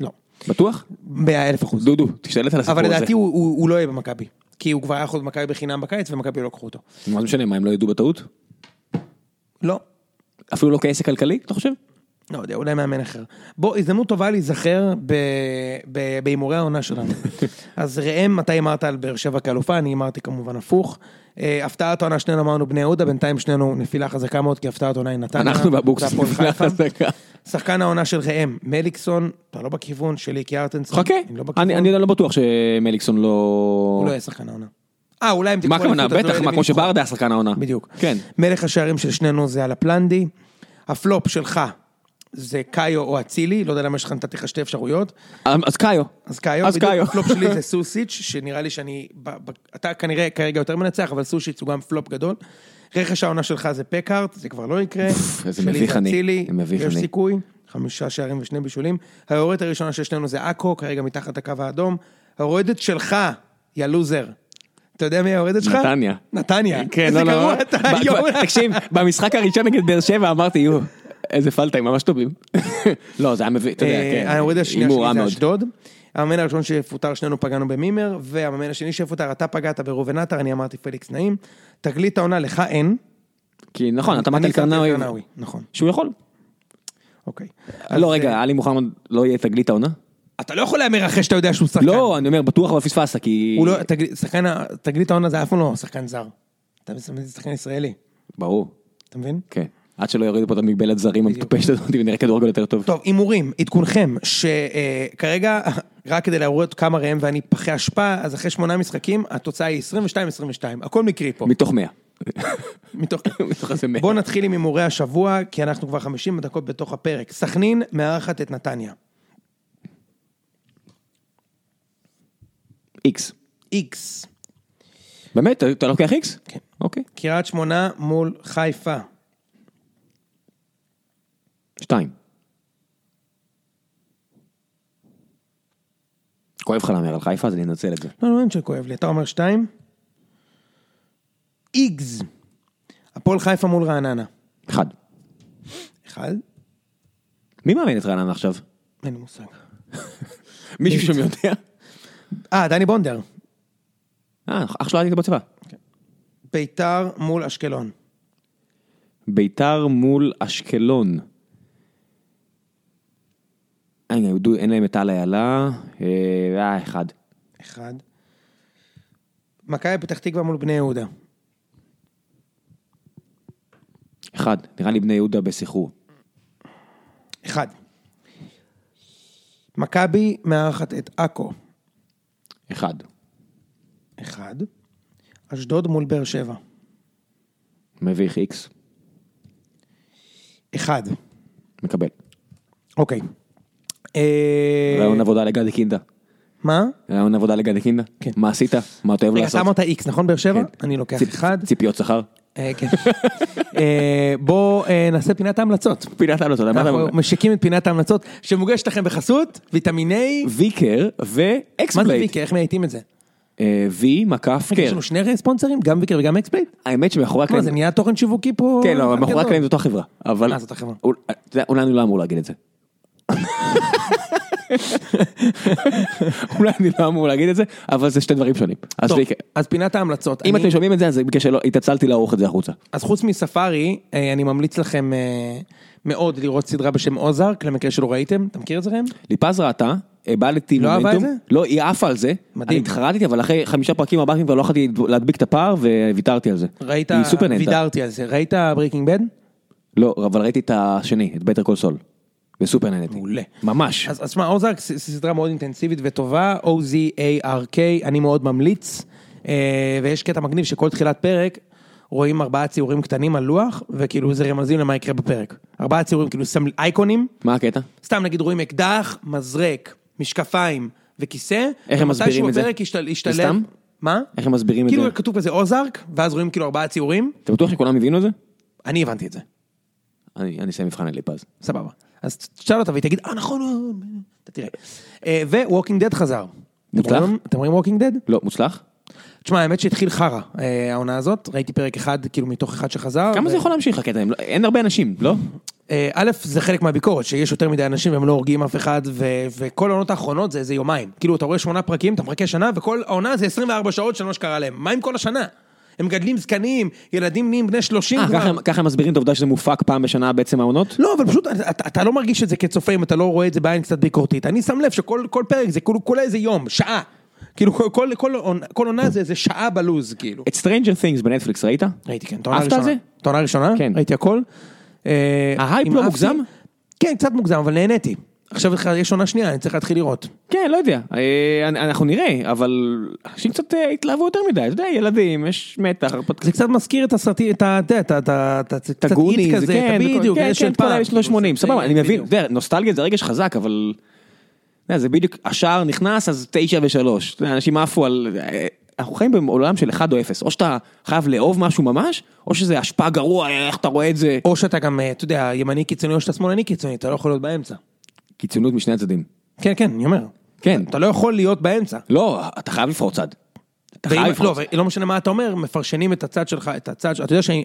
A: לא.
B: בטוח?
A: מאה אלף אחוז.
B: דודו, תשתלט על הסיפור
A: אבל
B: הזה.
A: לדעתי הוא- הוא הוא לא יהיה במכבי. כי הוא כבר היה יכול להיות במכבי בחינם בקיץ ומכבי לא לקחו אותו.
B: מה זה משנה, מה הם לא ידעו בטעות?
A: לא.
B: אפילו לא כעסק כלכלי, אתה חושב?
A: לא יודע, אולי מאמן אחר. בוא, הזדמנות טובה להיזכר ב- ב- בהימורי העונה שלנו. אז ראם, אתה הימרת על באר שבע כאלופה, אני הימרתי כמובן הפוך. אה, הפתעת העונה שנינו אמרנו בני יהודה, בינתיים שנינו נפילה חזקה מאוד, כי הפתעת העונה היא נתניה.
B: אנחנו באבוקסיס
A: והפועל
B: נפילה
A: חיפה.
B: חזקה.
A: שחקן העונה של ראם, מליקסון, אתה לא בכיוון, שלי קיארטנסון.
B: חכה,
A: אני לא בכיוון.
B: אני אני לא בטוח שמליקסון לא...
A: הוא לא יהיה שחקן העונה. אה, אולי אם
B: מה
A: תיקחו
B: הכוונה?
A: אליפות, אז לא
B: בטח,
A: יהיה
B: מה,
A: למי
B: כמו
A: לבחור.
B: שברדה היה שחקן העונה.
A: בדיוק.
B: כן.
A: מלך השערים של שנינו זה על הפלנדי. הפלופ שלך זה קאיו או אצילי, לא יודע למה יש לך נתתי לך שתי אפשרויות.
B: אמ, אז קאיו.
A: אז קאיו,
B: אז
A: בדיוק
B: קאיו.
A: הפלופ שלי זה סוסיץ', שנראה לי שאני, ב, ב, אתה כנראה כרגע יותר מנצח, אבל סוסיץ' הוא גם פלופ גדול. רכש העונה שלך זה פקארט, זה כבר לא יקרה.
B: איזה
A: שלי
B: מביך
A: זה
B: אני,
A: אצילי,
B: מביך
A: יש
B: אני.
A: סיכוי, חמישה שערים ושני בישולים. האוהדת הראשונה של שנינו זה עכו, כרגע מתחת הקו האדום. האוהדת שלך, יא לוזר. אתה יודע מי האוהדת שלך?
B: נתניה.
A: נתניה.
B: כן,
A: איזה
B: לא, לא.
A: גרוע אתה
B: ב-
A: היום.
B: כבר- תקשיב, במשחק הראשון נגד באר שבע אמרתי, יו, איזה פלטה, הם ממש טובים. לא, זה היה מביא, אתה יודע,
A: אה,
B: כן.
A: האוהד השנייה
B: הימור
A: שלי
B: רע
A: זה
B: מאוד.
A: אשדוד. המאמן הראשון שפוטר, שנינו פגענו במימר, והמאמן השני שפוטר, אתה פגעת בראובן עטר, אני אמרתי פליקס נעים. תגלית העונה לך אין.
B: כי נכון, אתה אמרת
A: אני
B: על
A: שמתי את
B: קרנאווי,
A: קרנאווי, נכון,
B: שהוא יכול.
A: אוקיי.
B: לא,
A: אז,
B: רגע,
A: אה,
B: עלי מוחמד לא יהיה תגלית העונה?
A: אתה לא יכול להמר אחרי שאתה יודע שהוא שחקן.
B: לא, אני אומר, בטוח אבל פספסת, כי...
A: כן. הוא לא, תגלית- שחקן, ה- תגלית העונה זה אף פעם לא שחקן זר. אתה מסמן זה שחקן ישראלי,
B: ברור,
A: אתה מבין?
B: כן. עד שלא יורידו פה את המגבלת זרים המטופשת הזאת ונראה כדורגל יותר טוב.
A: טוב, הימורים, עדכונכם, שכרגע, רק כדי להראות כמה ראם ואני פחי אשפה, אז אחרי שמונה משחקים, התוצאה היא 22-22, הכל מקרי פה.
B: מתוך 100.
A: מתוך...
B: מתוך איזה 100.
A: בואו נתחיל עם הימורי השבוע, כי אנחנו כבר 50 דקות בתוך הפרק. סכנין מארחת את נתניה.
B: איקס.
A: איקס.
B: באמת? אתה- אתה לוקח איקס?
A: כן.
B: אוקיי.
A: קריית שמונה מול חיפה.
B: שתיים. כואב לך להמר על חיפה, אז אני אנצל את זה.
A: לא, לא, אין שכואב לי. אתה אומר שתיים? איגז. הפועל חיפה מול רעננה.
B: אחד.
A: אחד?
B: מי מאמן את רעננה עכשיו?
A: אין לי מושג.
B: מישהו שם יודע?
A: אה, דני בונדר.
B: אה, אח שלו היה איתו בצבא.
A: ביתר מול אשקלון.
B: ביתר מול אשקלון. אה, הנה, דו- אין להם את טל איילה. אה, אה, אחד.
A: אחד. מכבי פתח תקווה מול בני יהודה.
B: אחד. נראה לי בני יהודה בסחרור.
A: אחד. מכבי מארחת את עכו.
B: אחד.
A: אחד. אשדוד מול באר שבע.
B: מביך איקס.
A: אחד.
B: מקבל.
A: אוקיי. אה,
B: רעיון עבודה לגדי קינדה.
A: מה?
B: רעיון עבודה לגדי קינדה.
A: כן.
B: מה עשית? מה אתה אוהב
A: רגע, אתה
B: לעשות?
A: אמרת איקס, נכון באר שבע?
B: כן.
A: אני לוקח
B: ציפ-
A: אחד.
B: ציפיות שכר.
A: אה, כן. אה, בואו אה, נעשה פינת ההמלצות.
B: פינת ההמלצות, מה אתה
A: אנחנו משיקים את פינת ההמלצות שמוגשת לכם בחסות ויטמיני...
B: ויקר
A: מה זה
B: ואקסבלייד.
A: ויקר? איך מאייתים את זה?
B: אה, וי מקף
A: יש
B: קר.
A: לנו שני ספונסרים? גם ויקר וגם אקספלייט?
B: האמת שמאחורי
A: מה זה
B: הקלעים,
A: נהיה תוכן שיווקי פה?
B: כן, לא,
A: אחד
B: מאחורי
A: אה, גדול.
B: הקלעים זו אותה חברה. אבל,
A: אה, זאת החברה.
B: אול- אתה יודע, אולי אני לא אמור להגיד את זה. אולי אני לא אמור להגיד את זה, אבל זה שתי דברים שונים. אז
A: טוב,
B: ויקר,
A: אז פינת ההמלצות.
B: אם
A: אני-
B: אתם שומעים את זה, אז בגלל שלא, התעצלתי לערוך את זה החוצה.
A: אז חוץ מספארי, אה, אני ממליץ לכם אה, מאוד לראות סדרה בשם אוזארק, למקרה שלא ראיתם, אתה מכיר את זה ראם?
B: ליפז ראתה, הבלתי
A: לא אהבה
B: מומנטום.
A: את
B: לא, היא עפה על זה.
A: מדהים.
B: אני התחרטתי, אבל אחרי חמישה פרקים הבאים כבר לא יכולתי להדביק את הפער וויתרתי על זה.
A: ראית,
B: היא סופר נהנתה.
A: וידרתי על זה, ראית בריקינג בד?
B: לא, אבל ראיתי את השני, את בטר קול סול. וסופר נהניתי.
A: מעולה.
B: ממש.
A: אז אז שמע, אוזארק ס- סדרה מאוד אינטנסיבית וטובה, O-Z-A-R-K, אני מאוד ממליץ, אה, ויש קטע מגניב שכל תחילת פרק רואים ארבעה ציורים קטנים על לוח, וכאילו זה רמזים למה יקרה בפרק. ארבעה ציורים, כאילו סמל- אייקונים,
B: מה הקטע?
A: סתם נגיד רואים אקדח, מזרק, משקפיים וכיסא.
B: איך הם מסבירים את זה?
A: ומתישהו הפרק ישתל-
B: זה
A: ישתלב.
B: סתם?
A: מה?
B: איך הם מסבירים את זה?
A: כאילו כתוב כזה אוזארק, ואז רואים כאילו ארבעה ציורים,
B: אתה בטוח שכולם הבינו את זה?
A: אני הבנתי את זה,
B: אני אני אעשה מבחן על ליפז.
A: סבבה. אז תשאל אותה והיא תגיד, אה נכון, אה, אתה תראה. וווקינג דד חזר.
B: מוצלח?
A: אתם רואים- אתם רואים ווקינג דד?
B: לא, מוצלח?
A: תשמע, האמת שהתחיל חרא, אה, העונה הזאת, ראיתי פרק אחד, כאילו מתוך אחד שחזר.
B: כמה
A: ו-
B: זה יכול להמשיך הקטע? הם לא- אין הרבה אנשים, לא?
A: אה, א', זה חלק מהביקורת, שיש יותר מדי אנשים והם לא הורגים אף אחד, ו- וכל העונות האחרונות זה איזה יומיים. כאילו, אתה רואה שמונה פרקים, אתה מחכה שנה, וכל העונה זה 24 שעות של מה שקרה להם. מה עם כל השנה? הם מגדלים זקנים, ילדים נהיים בני 30
B: אה, ככה הם- ככה הם מסבירים את העובדה שזה מופק פעם בשנה בעצם העונות?
A: לא, אבל פשוט אתה, אתה- אתה לא מרגיש את זה כצופה אם אתה לא רואה את זה בעין קצת ביקורתית. אני שם לב שכל כל פרק זה כאילו כולה איזה יום, שעה. כאילו כל, כל, כל, עונה- כל עונה זה איזה שעה בלוז, כאילו.
B: את Stranger Things בנטפליקס ראית?
A: ראיתי, כן, את העונה
B: אהבת על
A: הראשונה.
B: זה?
A: את העונה הראשונה?
B: כן.
A: ראיתי הכל. אה,
B: ההייפ
A: אם
B: לא
A: אהבתי-
B: מוגזם?
A: כן, קצת מוגזם, אבל נהניתי. עכשיו יש עונה שנייה, אני צריך להתחיל לראות.
B: כן, לא יודע, אה, אנחנו נראה, אבל אנשים קצת אה, התלהבו יותר מדי, אתה יודע, ילדים, יש מתח, הרפתקה.
A: זה קצת מזכיר את הסרטים, את ה... אתה יודע, את ה- את ה- את ה- קצת
B: את הגוני,
A: איט
B: זה
A: כזה, את
B: כן,
A: ה-
B: וכל-
A: בדיוק,
B: כן,
A: אלה של
B: כן, כל
A: פעם.
B: האלה של 80, סבבה, אני מבין, אתה יודע, נוסטלגיה זה רגש חזק, אבל, אתה יודע, זה בדיוק, השער נכנס, אז תשע ושלוש, אתה יודע, אנשים עפו על, אה, אנחנו חיים בעולם של אחד או אפס, או שאתה חייב לאהוב משהו ממש, או שזה השפעה גרוע, איך אתה רואה את זה,
A: או שאתה גם, אה, אתה יודע, ימני קיצוני או שאתה שמאלני קיצוני, אתה לא יכול להיות באמצע.
B: קיצוניות משני הצדדים.
A: כן, כן, אני אומר.
B: כן.
A: אתה לא יכול להיות באמצע.
B: לא, אתה חייב לבחור צד. אתה
A: ואם,
B: חייב לבחור
A: לא,
B: צד.
A: ולא משנה מה אתה אומר, מפרשנים את הצד שלך, את הצד שלך, אתה יודע שאני...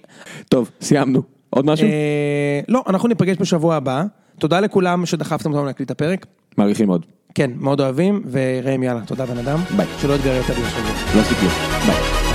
B: טוב, סיימנו. עוד משהו?
A: אה, לא, אנחנו ניפגש בשבוע הבא. תודה לכולם שדחפתם אותנו להקליט את הפרק.
B: מעריכים מאוד.
A: כן, מאוד אוהבים, וראם יאללה, תודה בן אדם.
B: ביי.
A: שלא יתגרה את הדין שלו.
B: לא סיכוי. ביי.